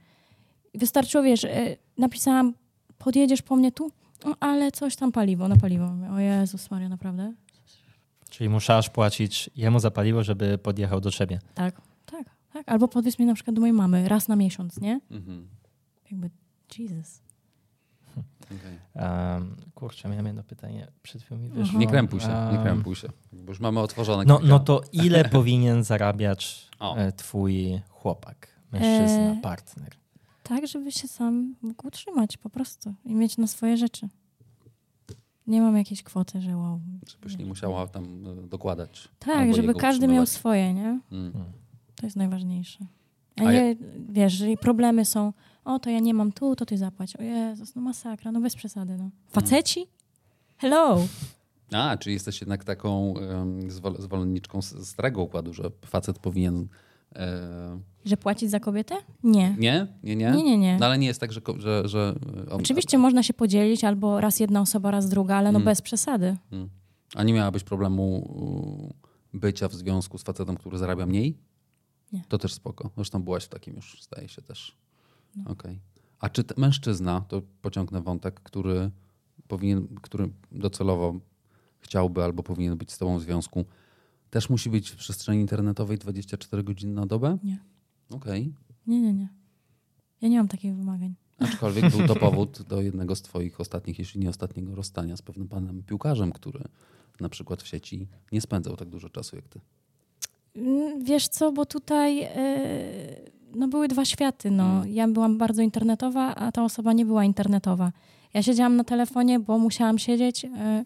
[SPEAKER 1] I Wystarczyło, wiesz, e, napisałam, podjedziesz po mnie tu, no, ale coś tam paliwo, na paliwo. Mówię, O Jezus Maria, naprawdę?
[SPEAKER 2] Czyli musiałaś płacić jemu za paliwo, żeby podjechał do ciebie.
[SPEAKER 1] Tak, tak, tak. Albo podwiedz mnie na przykład do mojej mamy raz na miesiąc, nie?
[SPEAKER 3] Mhm.
[SPEAKER 1] Jakby, Jesus.
[SPEAKER 3] okej.
[SPEAKER 2] Um, kurczę, miałem jedno pytanie, przed chwilą mi wyszło.
[SPEAKER 1] no.
[SPEAKER 3] Nie krępuj się, nie
[SPEAKER 2] Em,
[SPEAKER 3] krępuj się. Bo już mamy otworzone
[SPEAKER 2] Ehm. No,
[SPEAKER 3] kilka.
[SPEAKER 2] no
[SPEAKER 3] (laughs)
[SPEAKER 2] to ile powinien zarabiać
[SPEAKER 3] O.
[SPEAKER 2] e, twój chłopak, mężczyzna,
[SPEAKER 1] E,
[SPEAKER 2] partner?
[SPEAKER 1] Tak, żeby się sam mógł utrzymać po prostu i mieć na swoje rzeczy. Nie mam jakiejś kwoty, że wow.
[SPEAKER 3] Żebyś nie musiała tam e, dokładać.
[SPEAKER 1] Tak,
[SPEAKER 3] albo
[SPEAKER 1] żeby
[SPEAKER 3] jego
[SPEAKER 1] każdy miał
[SPEAKER 3] utrzymywać.
[SPEAKER 1] swoje, nie?
[SPEAKER 3] Mm.
[SPEAKER 1] To jest najważniejsze. A
[SPEAKER 3] A
[SPEAKER 1] nie, wiesz, jeżeli problemy są, o to ja nie mam tu, to ty zapłać. O Jezus, no masakra, no bez przesady,
[SPEAKER 3] Mhm.
[SPEAKER 1] no. Faceci? Hello!
[SPEAKER 3] A, czy jesteś jednak taką em, zwol- zwolenniczką s- starego układu, że facet powinien... e,
[SPEAKER 1] Że płacić za kobietę? Nie.
[SPEAKER 3] Nie? Nie, nie?
[SPEAKER 1] Nie, nie, nie.
[SPEAKER 3] No ale nie jest tak, że... ko- że, że e, o-
[SPEAKER 1] Oczywiście można się podzielić albo raz jedna osoba, raz druga, ale no
[SPEAKER 3] Mhm.
[SPEAKER 1] bez przesady.
[SPEAKER 3] Mm. A nie miałabyś problemu u, bycia w związku z facetem, który zarabia mniej?
[SPEAKER 1] Nie.
[SPEAKER 3] To też spoko. Zresztą byłaś w takim już, zdaje się też.
[SPEAKER 1] No.
[SPEAKER 3] Okej. A czy t- mężczyzna, to pociągnę wątek, który powinien, który docelowo chciałby albo powinien być z tobą w związku, też musi być w przestrzeni internetowej 24 godziny na dobę?
[SPEAKER 1] Nie.
[SPEAKER 3] Okej.
[SPEAKER 1] Nie, nie, nie. Ja nie mam takich wymagań.
[SPEAKER 3] Aczkolwiek był to powód do jednego z twoich ostatnich, jeśli nie ostatniego rozstania z pewnym panem piłkarzem, który na przykład w sieci nie spędzał tak dużo czasu jak ty.
[SPEAKER 1] Mm, Wiesz co, bo tutaj e, no były dwa światy. No. Ja byłam bardzo internetowa, a ta osoba nie była internetowa. Ja siedziałam na telefonie, bo musiałam siedzieć. e,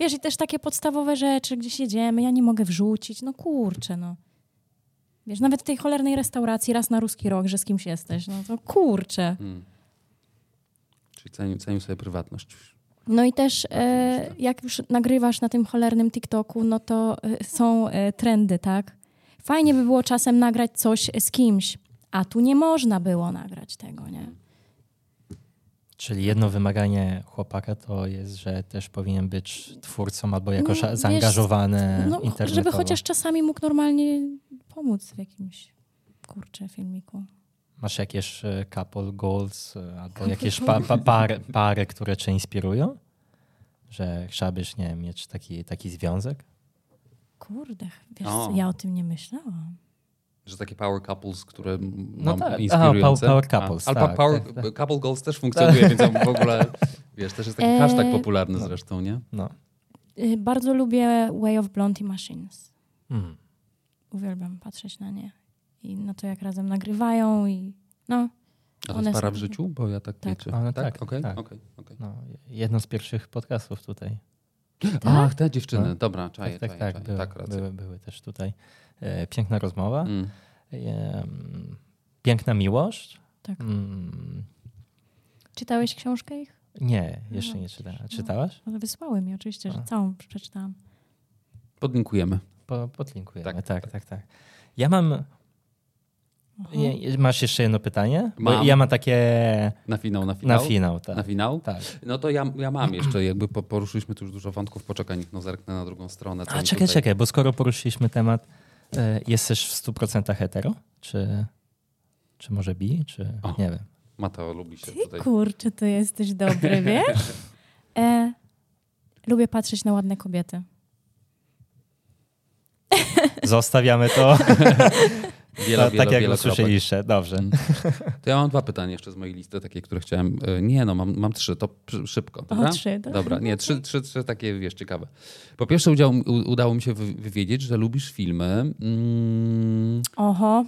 [SPEAKER 1] Wiesz, i też takie podstawowe rzeczy, gdzie siedziemy, ja nie mogę wrzucić. No kurczę, no. Wiesz, nawet w tej cholernej restauracji raz na ruski rok, że z kimś jesteś. No to kurczę.
[SPEAKER 2] Hmm.
[SPEAKER 3] Czyli cenił, cenił sobie prywatność.
[SPEAKER 1] No i też e, jak już nagrywasz na tym cholernym TikToku, no to e, są e, trendy, tak? Fajnie by było czasem nagrać coś z kimś, a tu nie można było nagrać tego, nie?
[SPEAKER 2] Czyli jedno wymaganie chłopaka to jest, że też powinien być twórcą albo jakoś
[SPEAKER 1] No, wiesz,
[SPEAKER 2] zaangażowany
[SPEAKER 1] No,
[SPEAKER 2] internetowo.
[SPEAKER 1] żeby chociaż czasami mógł normalnie pomóc w jakimś kurczę filmiku.
[SPEAKER 2] Masz jakieś e, couple goals e, albo jakieś pa, pa, pary, pary, które cię inspirują? Że chciałbyś, nie wiem, mieć taki, taki związek?
[SPEAKER 1] Kurde, wiesz,
[SPEAKER 3] O.
[SPEAKER 1] co, ja o tym nie myślałam.
[SPEAKER 3] Że takie power couples, które m-
[SPEAKER 2] No
[SPEAKER 3] mam
[SPEAKER 2] tak. A, power-
[SPEAKER 3] inspirujące.
[SPEAKER 2] power couples,
[SPEAKER 3] A, ale
[SPEAKER 2] tak,
[SPEAKER 3] power,
[SPEAKER 2] tak, tak.
[SPEAKER 3] couple goals też funkcjonuje, więc on w
[SPEAKER 2] (laughs)
[SPEAKER 3] ogóle, wiesz, też jest taki
[SPEAKER 1] Eee,
[SPEAKER 3] hashtag popularny zresztą, nie?
[SPEAKER 2] No.
[SPEAKER 1] Y, Bardzo lubię Way of Blondie Machines.
[SPEAKER 2] Mm.
[SPEAKER 1] Uwielbiam patrzeć na nie i na to, jak razem nagrywają i no.
[SPEAKER 3] A to
[SPEAKER 1] One
[SPEAKER 3] jest para
[SPEAKER 1] są-
[SPEAKER 3] w życiu? Bo ja tak,
[SPEAKER 1] Tak.
[SPEAKER 3] nie
[SPEAKER 2] A,
[SPEAKER 3] no
[SPEAKER 2] no
[SPEAKER 3] tak,
[SPEAKER 2] tak,
[SPEAKER 3] okej,
[SPEAKER 2] tak.
[SPEAKER 3] okej, okej.
[SPEAKER 2] No, jedno z pierwszych podcastów tutaj.
[SPEAKER 1] Tak?
[SPEAKER 3] Ach, te dziewczyny,
[SPEAKER 2] No.
[SPEAKER 3] dobra, czaję,
[SPEAKER 2] tak,
[SPEAKER 3] czaję,
[SPEAKER 2] tak,
[SPEAKER 3] czaję.
[SPEAKER 2] były,
[SPEAKER 3] tak, racja.
[SPEAKER 2] były, były też tutaj. E, piękna rozmowa.
[SPEAKER 3] Mm.
[SPEAKER 2] Em, piękna miłość.
[SPEAKER 1] Tak.
[SPEAKER 2] Mm,
[SPEAKER 1] Czytałeś książkę ich?
[SPEAKER 2] nie, jeszcze
[SPEAKER 1] No,
[SPEAKER 2] nie czytałem.
[SPEAKER 1] no.
[SPEAKER 2] Czytałaś?
[SPEAKER 1] No, Wysłały mi oczywiście, że
[SPEAKER 2] A.
[SPEAKER 1] całą przeczytałam.
[SPEAKER 3] Podlinkujemy.
[SPEAKER 2] Po, podlinkujemy.
[SPEAKER 3] Tak,
[SPEAKER 2] Tak, tak, tak. Ja mam.
[SPEAKER 1] Aha.
[SPEAKER 2] Je, masz jeszcze jedno pytanie? Bo
[SPEAKER 3] Mam.
[SPEAKER 2] Ja mam takie
[SPEAKER 3] Na finał, na
[SPEAKER 2] na
[SPEAKER 3] finał.
[SPEAKER 2] finał. Tak.
[SPEAKER 3] Na finał?
[SPEAKER 2] tak.
[SPEAKER 3] No to ja, ja mam jeszcze, jakby po, poruszyliśmy tu już dużo wątków, poczekaj, niech no zerknę na drugą stronę. co
[SPEAKER 2] A
[SPEAKER 3] Tak, mi
[SPEAKER 2] czekaj,
[SPEAKER 3] tutaj-
[SPEAKER 2] czekaj, bo skoro poruszyliśmy temat, e, jesteś w 100% hetero? Czy, czy może bi? Czy
[SPEAKER 3] O.
[SPEAKER 2] nie wiem.
[SPEAKER 3] Mateo lubi się
[SPEAKER 1] Ty
[SPEAKER 3] tutaj.
[SPEAKER 1] kurczę, ty jesteś
[SPEAKER 3] (laughs)
[SPEAKER 1] dobry, wiesz? E, lubię patrzeć na ładne kobiety.
[SPEAKER 2] Zostawiamy to,
[SPEAKER 3] Wiele,
[SPEAKER 2] tak
[SPEAKER 3] wiele,
[SPEAKER 2] jak
[SPEAKER 3] wiele kropek.
[SPEAKER 2] usłyszeliście. Dobrze.
[SPEAKER 3] To ja mam dwa pytania jeszcze z mojej listy, takie, które chciałem. e, Nie, no mam, mam trzy, to przy- szybko. Dobra?
[SPEAKER 1] trzy, dobra.
[SPEAKER 3] Dobra, nie, trzy, trzy, trzy takie, wiesz, ciekawe. Po pierwsze udział, u, udało mi się wy- wywiedzieć, że lubisz filmy. Mm,
[SPEAKER 1] Oho.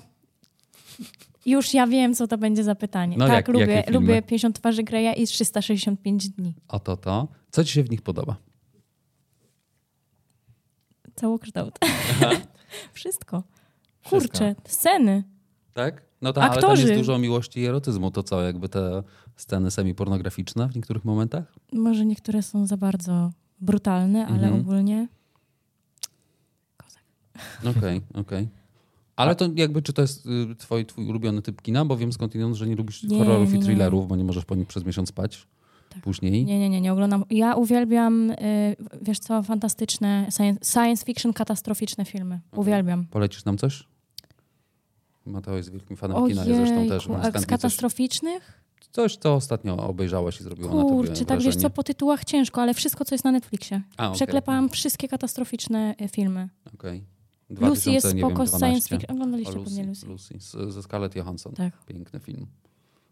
[SPEAKER 1] Już ja wiem, co to będzie za pytanie.
[SPEAKER 3] No,
[SPEAKER 1] tak,
[SPEAKER 3] jak-
[SPEAKER 1] lubię,
[SPEAKER 3] jakie filmy?
[SPEAKER 1] lubię 50 twarzy Greya i 365 dni.
[SPEAKER 3] oto to. Co ci się w nich podoba?
[SPEAKER 1] Całokształt. (laughs) Wszystko.
[SPEAKER 2] Wszystko.
[SPEAKER 1] Kurczę, sceny.
[SPEAKER 3] Tak? No tak, ale tam
[SPEAKER 1] Aktorzy.
[SPEAKER 3] jest dużo miłości i erotyzmu. To co, jakby te sceny semipornograficzne w niektórych momentach?
[SPEAKER 1] Może niektóre są za bardzo brutalne, ale
[SPEAKER 3] Mhm.
[SPEAKER 1] ogólnie... Kozak.
[SPEAKER 3] Okej, okej. Ale to jakby, czy to jest y, twój, twój ulubiony typ kina? Bo wiem skądinąd, że nie lubisz
[SPEAKER 1] Nie,
[SPEAKER 3] horrorów
[SPEAKER 1] nie,
[SPEAKER 3] i
[SPEAKER 1] nie.
[SPEAKER 3] thrillerów, bo nie możesz po nich przez miesiąc spać.
[SPEAKER 1] Tak.
[SPEAKER 3] Później.
[SPEAKER 1] Nie, nie, nie, nie oglądam. Ja uwielbiam, y, wiesz co, fantastyczne science, science fiction, katastroficzne filmy.
[SPEAKER 3] Mhm.
[SPEAKER 1] Uwielbiam.
[SPEAKER 3] Polecisz nam coś? Mateo jest wielkim fanem kina, ja zresztą też.
[SPEAKER 1] Ojejku, a
[SPEAKER 3] Mam
[SPEAKER 1] z
[SPEAKER 3] chętnie coś,
[SPEAKER 1] katastroficznych?
[SPEAKER 3] coś, co ostatnio obejrzałaś i zrobiło na tobie
[SPEAKER 1] Kurczę, tak
[SPEAKER 3] wrażenie.
[SPEAKER 1] wiesz co, po tytułach ciężko, ale wszystko, co jest na Netflixie.
[SPEAKER 3] A, okej.
[SPEAKER 1] Przeklepałam wszystkie katastroficzne y, filmy.
[SPEAKER 3] Okej.
[SPEAKER 1] Lucy jest
[SPEAKER 3] 2000, nie wiem,
[SPEAKER 1] spoko z science
[SPEAKER 3] 12.
[SPEAKER 1] fiction. Oglądaliście
[SPEAKER 3] O,
[SPEAKER 1] pewnie Lucy.
[SPEAKER 3] Lucy z, ze Scarlett Johansson.
[SPEAKER 1] Tak.
[SPEAKER 3] Piękny film.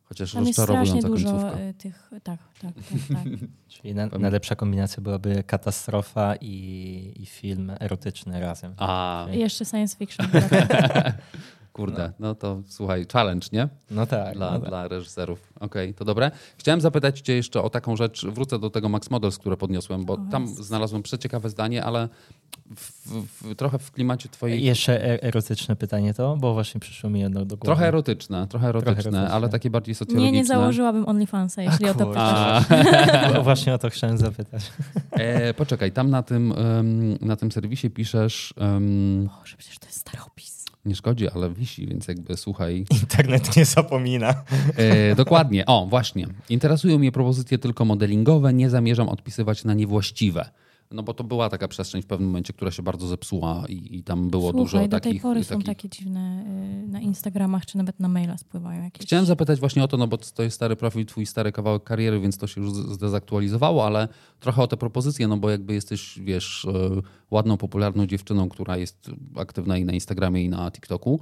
[SPEAKER 3] Chociaż
[SPEAKER 1] Tam jest strasznie
[SPEAKER 3] rozczarowująca
[SPEAKER 1] dużo
[SPEAKER 3] końcówka.
[SPEAKER 1] y, tych... Tak, tak, tak.
[SPEAKER 3] (laughs)
[SPEAKER 1] tak.
[SPEAKER 2] Czyli na, najlepsza kombinacja byłaby katastrofa i, i film erotyczny razem.
[SPEAKER 3] A,
[SPEAKER 1] I Jeszcze science fiction. tak.
[SPEAKER 3] (laughs) kurde, no to słuchaj, challenge, nie?
[SPEAKER 2] No tak.
[SPEAKER 3] dla,
[SPEAKER 2] no tak.
[SPEAKER 3] dla reżyserów. Okej, to dobre. Chciałem zapytać Cię jeszcze o taką rzecz. Wrócę do tego Max Models, które podniosłem, bo tam znalazłem przeciekawe zdanie, ale w, w, trochę w klimacie Twojej.
[SPEAKER 2] Jeszcze e- erotyczne pytanie to, bo właśnie przyszło mi jedno do głowy.
[SPEAKER 3] Trochę erotyczne, trochę erotyczne,
[SPEAKER 2] erotyczne.
[SPEAKER 3] ale takie bardziej socjologiczne.
[SPEAKER 1] Nie, nie założyłabym OnlyFansa, jeśli o to
[SPEAKER 2] kurczę.
[SPEAKER 1] pytasz.
[SPEAKER 3] A, (laughs)
[SPEAKER 2] Bo Właśnie o to chciałem zapytać.
[SPEAKER 3] e, poczekaj, tam na tym, em, na tym serwisie piszesz, em,
[SPEAKER 1] Boże, przecież to jest staropis.
[SPEAKER 3] nie szkodzi, ale wisi, więc jakby słuchaj,
[SPEAKER 2] Internet nie zapomina.
[SPEAKER 3] E, dokładnie, o właśnie. Interesują mnie propozycje tylko modelingowe, nie zamierzam odpisywać na niewłaściwe. No bo to była taka przestrzeń w pewnym momencie, która się bardzo zepsuła i, i tam było
[SPEAKER 1] Słuchaj,
[SPEAKER 3] dużo
[SPEAKER 1] do
[SPEAKER 3] takich...
[SPEAKER 1] tej pory są
[SPEAKER 3] takich-
[SPEAKER 1] takie dziwne y, na Instagramach, czy nawet na maila spływają jakieś.
[SPEAKER 3] Chciałem zapytać właśnie o to, no bo to jest stary profil, twój stary kawałek kariery, więc to się już z- zdezaktualizowało, ale trochę o te propozycje, no bo jakby jesteś, wiesz, e, ładną, popularną dziewczyną, która jest aktywna i na Instagramie, i na TikToku.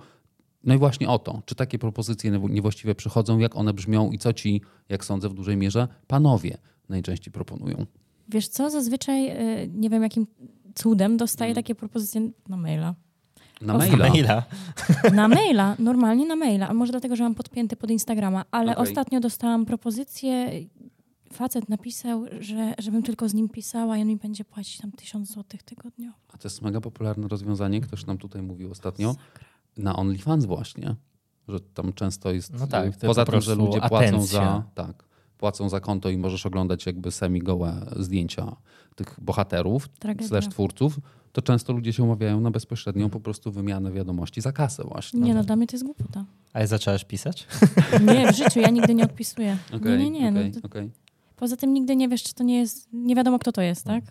[SPEAKER 3] No i właśnie o to, czy takie propozycje niew- niewłaściwe przychodzą, jak one brzmią i co ci, jak sądzę, w dużej mierze panowie najczęściej proponują.
[SPEAKER 1] Wiesz co, zazwyczaj y, nie wiem jakim cudem dostaję
[SPEAKER 3] Mm.
[SPEAKER 1] takie propozycje na maila.
[SPEAKER 3] Na
[SPEAKER 1] O,
[SPEAKER 2] No
[SPEAKER 3] maila.
[SPEAKER 1] Na maila, (laughs) normalnie na maila, a może dlatego, że mam podpięty pod Instagrama, ale
[SPEAKER 3] Okej.
[SPEAKER 1] ostatnio dostałam propozycję, facet napisał, że żebym tylko z nim pisała i on mi będzie płacić tam tysiąc złotych tygodniowo.
[SPEAKER 3] A to jest mega popularne rozwiązanie, ktoś nam tutaj mówił ostatnio, na OnlyFans właśnie, że tam często jest,
[SPEAKER 2] No tak, to
[SPEAKER 3] poza
[SPEAKER 2] po
[SPEAKER 3] tym, że
[SPEAKER 2] prostu
[SPEAKER 3] ludzie płacą
[SPEAKER 2] atencja.
[SPEAKER 3] za, tak, płacą za konto i możesz oglądać jakby semi-gołe zdjęcia tych bohaterów,
[SPEAKER 2] Tak,
[SPEAKER 1] Tragedia.
[SPEAKER 3] slash twórców, to często ludzie się umawiają na bezpośrednią po prostu wymianę wiadomości za kasę właśnie.
[SPEAKER 1] Nie no, dla mnie to jest głupota.
[SPEAKER 2] Ale zaczęłaś pisać?
[SPEAKER 1] Nie, w życiu ja nigdy nie odpisuję.
[SPEAKER 3] Okej,
[SPEAKER 1] nie, nie, nie.
[SPEAKER 3] okej,
[SPEAKER 1] No, to,
[SPEAKER 3] okej.
[SPEAKER 1] poza tym nigdy nie wiesz, czy to nie jest, nie wiadomo kto to jest, tak?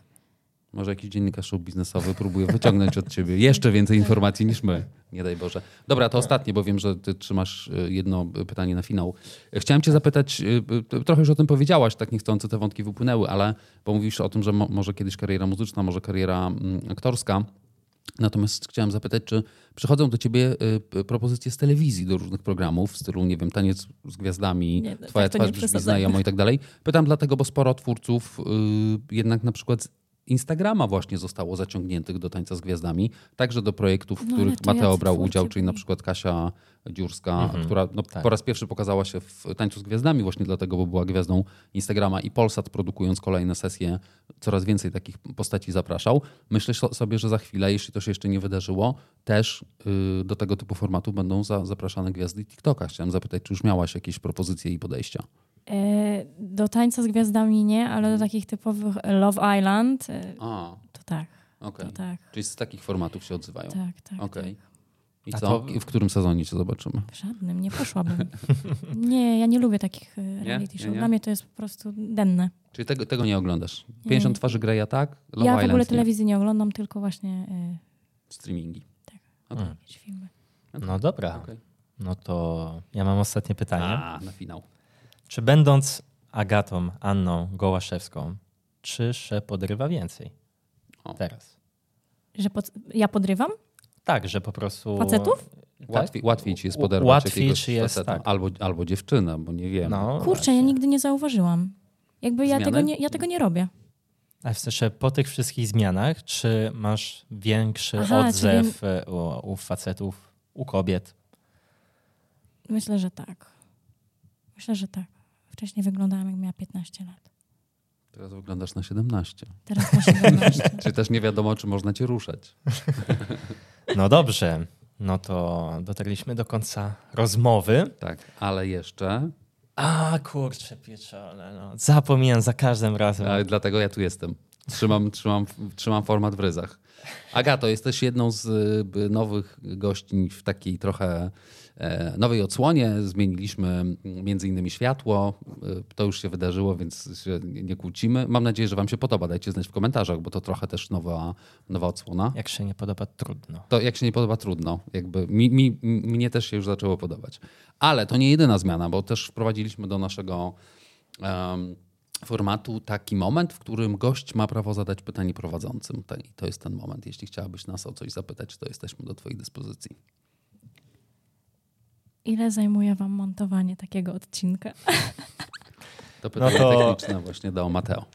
[SPEAKER 3] Może jakiś dziennikarz show biznesowy próbuje wyciągnąć od ciebie jeszcze więcej informacji niż my. Nie daj Boże. Dobra, to ostatnie, bo wiem, że ty trzymasz y, jedno y, pytanie na finał. Chciałem cię zapytać, y, y, trochę już o tym powiedziałaś, tak niechcący te wątki wypłynęły, ale bo mówisz o tym, że mo- może kiedyś kariera muzyczna, może kariera mm, aktorska. Natomiast chciałem zapytać, czy przychodzą do ciebie y, p- propozycje z telewizji do różnych programów w stylu, nie wiem, taniec z gwiazdami,
[SPEAKER 1] Nie, no,
[SPEAKER 3] twoja
[SPEAKER 1] tak to
[SPEAKER 3] twarz
[SPEAKER 1] nie
[SPEAKER 3] brzmi
[SPEAKER 1] przesadzajmy.
[SPEAKER 3] znajomo i tak dalej. Pytam dlatego, bo sporo twórców y, jednak na przykład z Instagrama właśnie zostało zaciągniętych do tańca z gwiazdami, także do projektów,
[SPEAKER 1] No,
[SPEAKER 3] w
[SPEAKER 1] ale
[SPEAKER 3] których
[SPEAKER 1] to
[SPEAKER 3] Mateo
[SPEAKER 1] jacy
[SPEAKER 3] brał
[SPEAKER 1] twórcy
[SPEAKER 3] udział, czyli na
[SPEAKER 1] byli?
[SPEAKER 3] przykład Kasia Dziurska, która no,
[SPEAKER 2] tak.
[SPEAKER 3] po raz pierwszy pokazała się w tańcu z gwiazdami właśnie dlatego, bo była gwiazdą Instagrama i Polsat produkując kolejne sesje coraz więcej takich postaci zapraszał. Myślę so- sobie, że za chwilę, jeśli to się jeszcze nie wydarzyło, też y, do tego typu formatu będą za, zapraszane gwiazdy TikToka. Chciałem zapytać, czy już miałaś jakieś propozycje i podejścia?
[SPEAKER 1] E, do tańca z gwiazdami nie, ale
[SPEAKER 3] Mhm.
[SPEAKER 1] do takich typowych Love Island e,
[SPEAKER 3] A,
[SPEAKER 1] to tak,
[SPEAKER 3] okej.
[SPEAKER 1] to tak,
[SPEAKER 3] Czyli z takich formatów się odzywają.
[SPEAKER 1] tak, tak.
[SPEAKER 3] Okej. I
[SPEAKER 2] A
[SPEAKER 3] co?
[SPEAKER 2] to-
[SPEAKER 3] I w którym sezonie cię zobaczymy?
[SPEAKER 1] W żadnym, nie poszłabym. (laughs) Nie, ja nie lubię takich e, reality show.
[SPEAKER 3] Nie, nie?
[SPEAKER 1] Dla mnie to jest po prostu denne.
[SPEAKER 3] Czyli tego, tego nie oglądasz? 50 twarzy Greya, tak? Love
[SPEAKER 1] ja w ogóle
[SPEAKER 3] Island, nie?
[SPEAKER 1] telewizji nie oglądam, tylko właśnie
[SPEAKER 3] Streamingi.
[SPEAKER 1] e,
[SPEAKER 3] Hmm.
[SPEAKER 1] jakieś filmy.
[SPEAKER 2] No dobra,
[SPEAKER 3] Okej.
[SPEAKER 2] no to ja mam ostatnie pytanie.
[SPEAKER 3] A, Tak. na finał.
[SPEAKER 2] Czy będąc Agatą Anną Gołaszewską, czy Sze podrywa więcej?
[SPEAKER 3] O.
[SPEAKER 2] Teraz.
[SPEAKER 1] Że pod, ja podrywam?
[SPEAKER 2] Tak, że po prostu...
[SPEAKER 1] Facetów?
[SPEAKER 2] Tak?
[SPEAKER 3] Łatwiej, łatwiej ci jest
[SPEAKER 2] U-
[SPEAKER 3] poderwać
[SPEAKER 2] łatwiej
[SPEAKER 3] jakiegoś
[SPEAKER 2] ci jest,
[SPEAKER 3] faceta.
[SPEAKER 2] tak.
[SPEAKER 3] Albo, albo dziewczynę, bo nie wiem.
[SPEAKER 2] No,
[SPEAKER 1] Kurczę, ja nigdy nie zauważyłam. Jakby ja
[SPEAKER 3] Zmiany?
[SPEAKER 1] tego, nie, ja tego nie robię.
[SPEAKER 2] A w sensie po tych wszystkich zmianach, czy masz większy
[SPEAKER 1] Aha,
[SPEAKER 2] odzew e, u, u facetów, u kobiet?
[SPEAKER 1] Myślę, że tak. Myślę, że tak. Wcześniej wyglądałam, jak miała 15 lat.
[SPEAKER 3] Teraz wyglądasz na 17.
[SPEAKER 1] Teraz ma 17.
[SPEAKER 3] Czy też nie wiadomo, czy można cię ruszać.
[SPEAKER 2] No dobrze, no to dotarliśmy do końca rozmowy.
[SPEAKER 3] Tak, ale jeszcze.
[SPEAKER 2] A kurczę pieczone, no. zapomniałem za każdym razem.
[SPEAKER 3] A, dlatego ja tu jestem. Trzymam, trzymam, trzymam format w ryzach. Agato, jesteś jedną z y, by, nowych gościń w takiej trochę e, nowej odsłonie. Zmieniliśmy mm, między innymi światło. Y, To już się wydarzyło, więc się nie nie kłócimy. Mam nadzieję, że wam się podoba. Dajcie znać w komentarzach, bo to trochę też nowa, nowa odsłona.
[SPEAKER 2] Jak się nie podoba, trudno.
[SPEAKER 3] To jak się nie podoba, trudno. Jakby mi, mi, m- mnie też się już zaczęło podobać. Ale to nie jedyna zmiana, bo też wprowadziliśmy do naszego em, formatu taki moment, w którym gość ma prawo zadać pytanie prowadzącym. Ta- I to jest ten moment. Jeśli chciałabyś nas o coś zapytać, to jesteśmy do Twojej dyspozycji.
[SPEAKER 1] Ile zajmuje wam montowanie takiego odcinka?
[SPEAKER 3] To
[SPEAKER 2] No
[SPEAKER 3] pytanie
[SPEAKER 2] to-
[SPEAKER 3] techniczne właśnie do Mateo.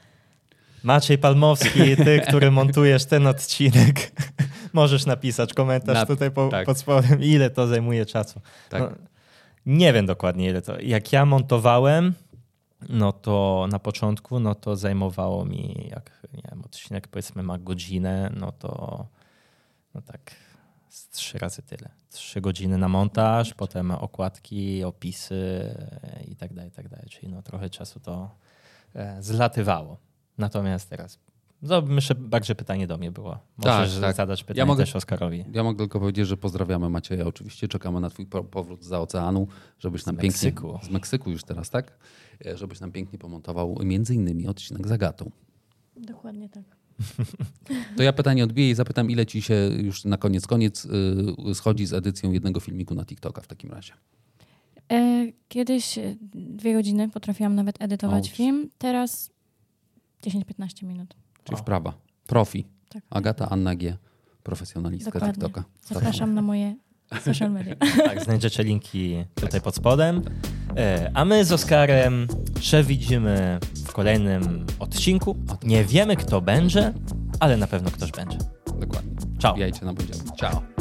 [SPEAKER 2] Maciej
[SPEAKER 3] (laughs)
[SPEAKER 2] Palmowski, ty, który montujesz ten odcinek, (laughs) możesz napisać komentarz
[SPEAKER 3] Nap-
[SPEAKER 2] tutaj po,
[SPEAKER 3] tak.
[SPEAKER 2] pod spodem, ile to zajmuje czasu.
[SPEAKER 3] Tak.
[SPEAKER 2] No, nie wiem dokładnie ile to. Jak ja montowałem, no to na początku, no to zajmowało mi, jak nie wiem, odcinek powiedzmy ma godzinę, no to no tak z trzy razy tyle. Trzy godziny na montaż, potem okładki, opisy e, i tak dalej, i tak dalej. Czyli no trochę czasu to e, zlatywało. Natomiast teraz, no myślę, bardziej pytanie do mnie było. Możesz
[SPEAKER 3] Tak, tak.
[SPEAKER 2] zadać pytanie
[SPEAKER 3] Ja mogę-
[SPEAKER 2] też Oskarowi.
[SPEAKER 3] Ja mogę tylko powiedzieć, że pozdrawiamy Macieja. Oczywiście czekamy na Twój po- powrót z oceanu, żebyś nam
[SPEAKER 2] Meksyku.
[SPEAKER 3] pięknie. Z Meksyku już teraz, tak? E, Żebyś nam pięknie pomontował między innymi odcinek z Agatą.
[SPEAKER 1] Dokładnie tak.
[SPEAKER 3] To ja pytanie odbiję i zapytam, ile ci się już na koniec koniec y, schodzi z edycją jednego filmiku na TikToka w takim razie.
[SPEAKER 1] E, kiedyś e, dwie godziny potrafiłam nawet edytować
[SPEAKER 3] Ouch.
[SPEAKER 1] film, teraz 10-15 minut.
[SPEAKER 3] Czyli
[SPEAKER 2] O.
[SPEAKER 3] wprawa. Profi.
[SPEAKER 1] Tak.
[SPEAKER 3] Agata Anna G. Profesjonalistka
[SPEAKER 1] Dokładnie.
[SPEAKER 3] TikToka.
[SPEAKER 1] Zapraszam na moje social media.
[SPEAKER 2] Tak, znajdziecie linki tutaj pod spodem. E, A my z Oskarem się widzimy w kolejnym odcinku. Nie wiemy, kto będzie, ale na pewno ktoś będzie.
[SPEAKER 3] Dokładnie.
[SPEAKER 2] Ciao.
[SPEAKER 3] Jajcie na podział. Ciao.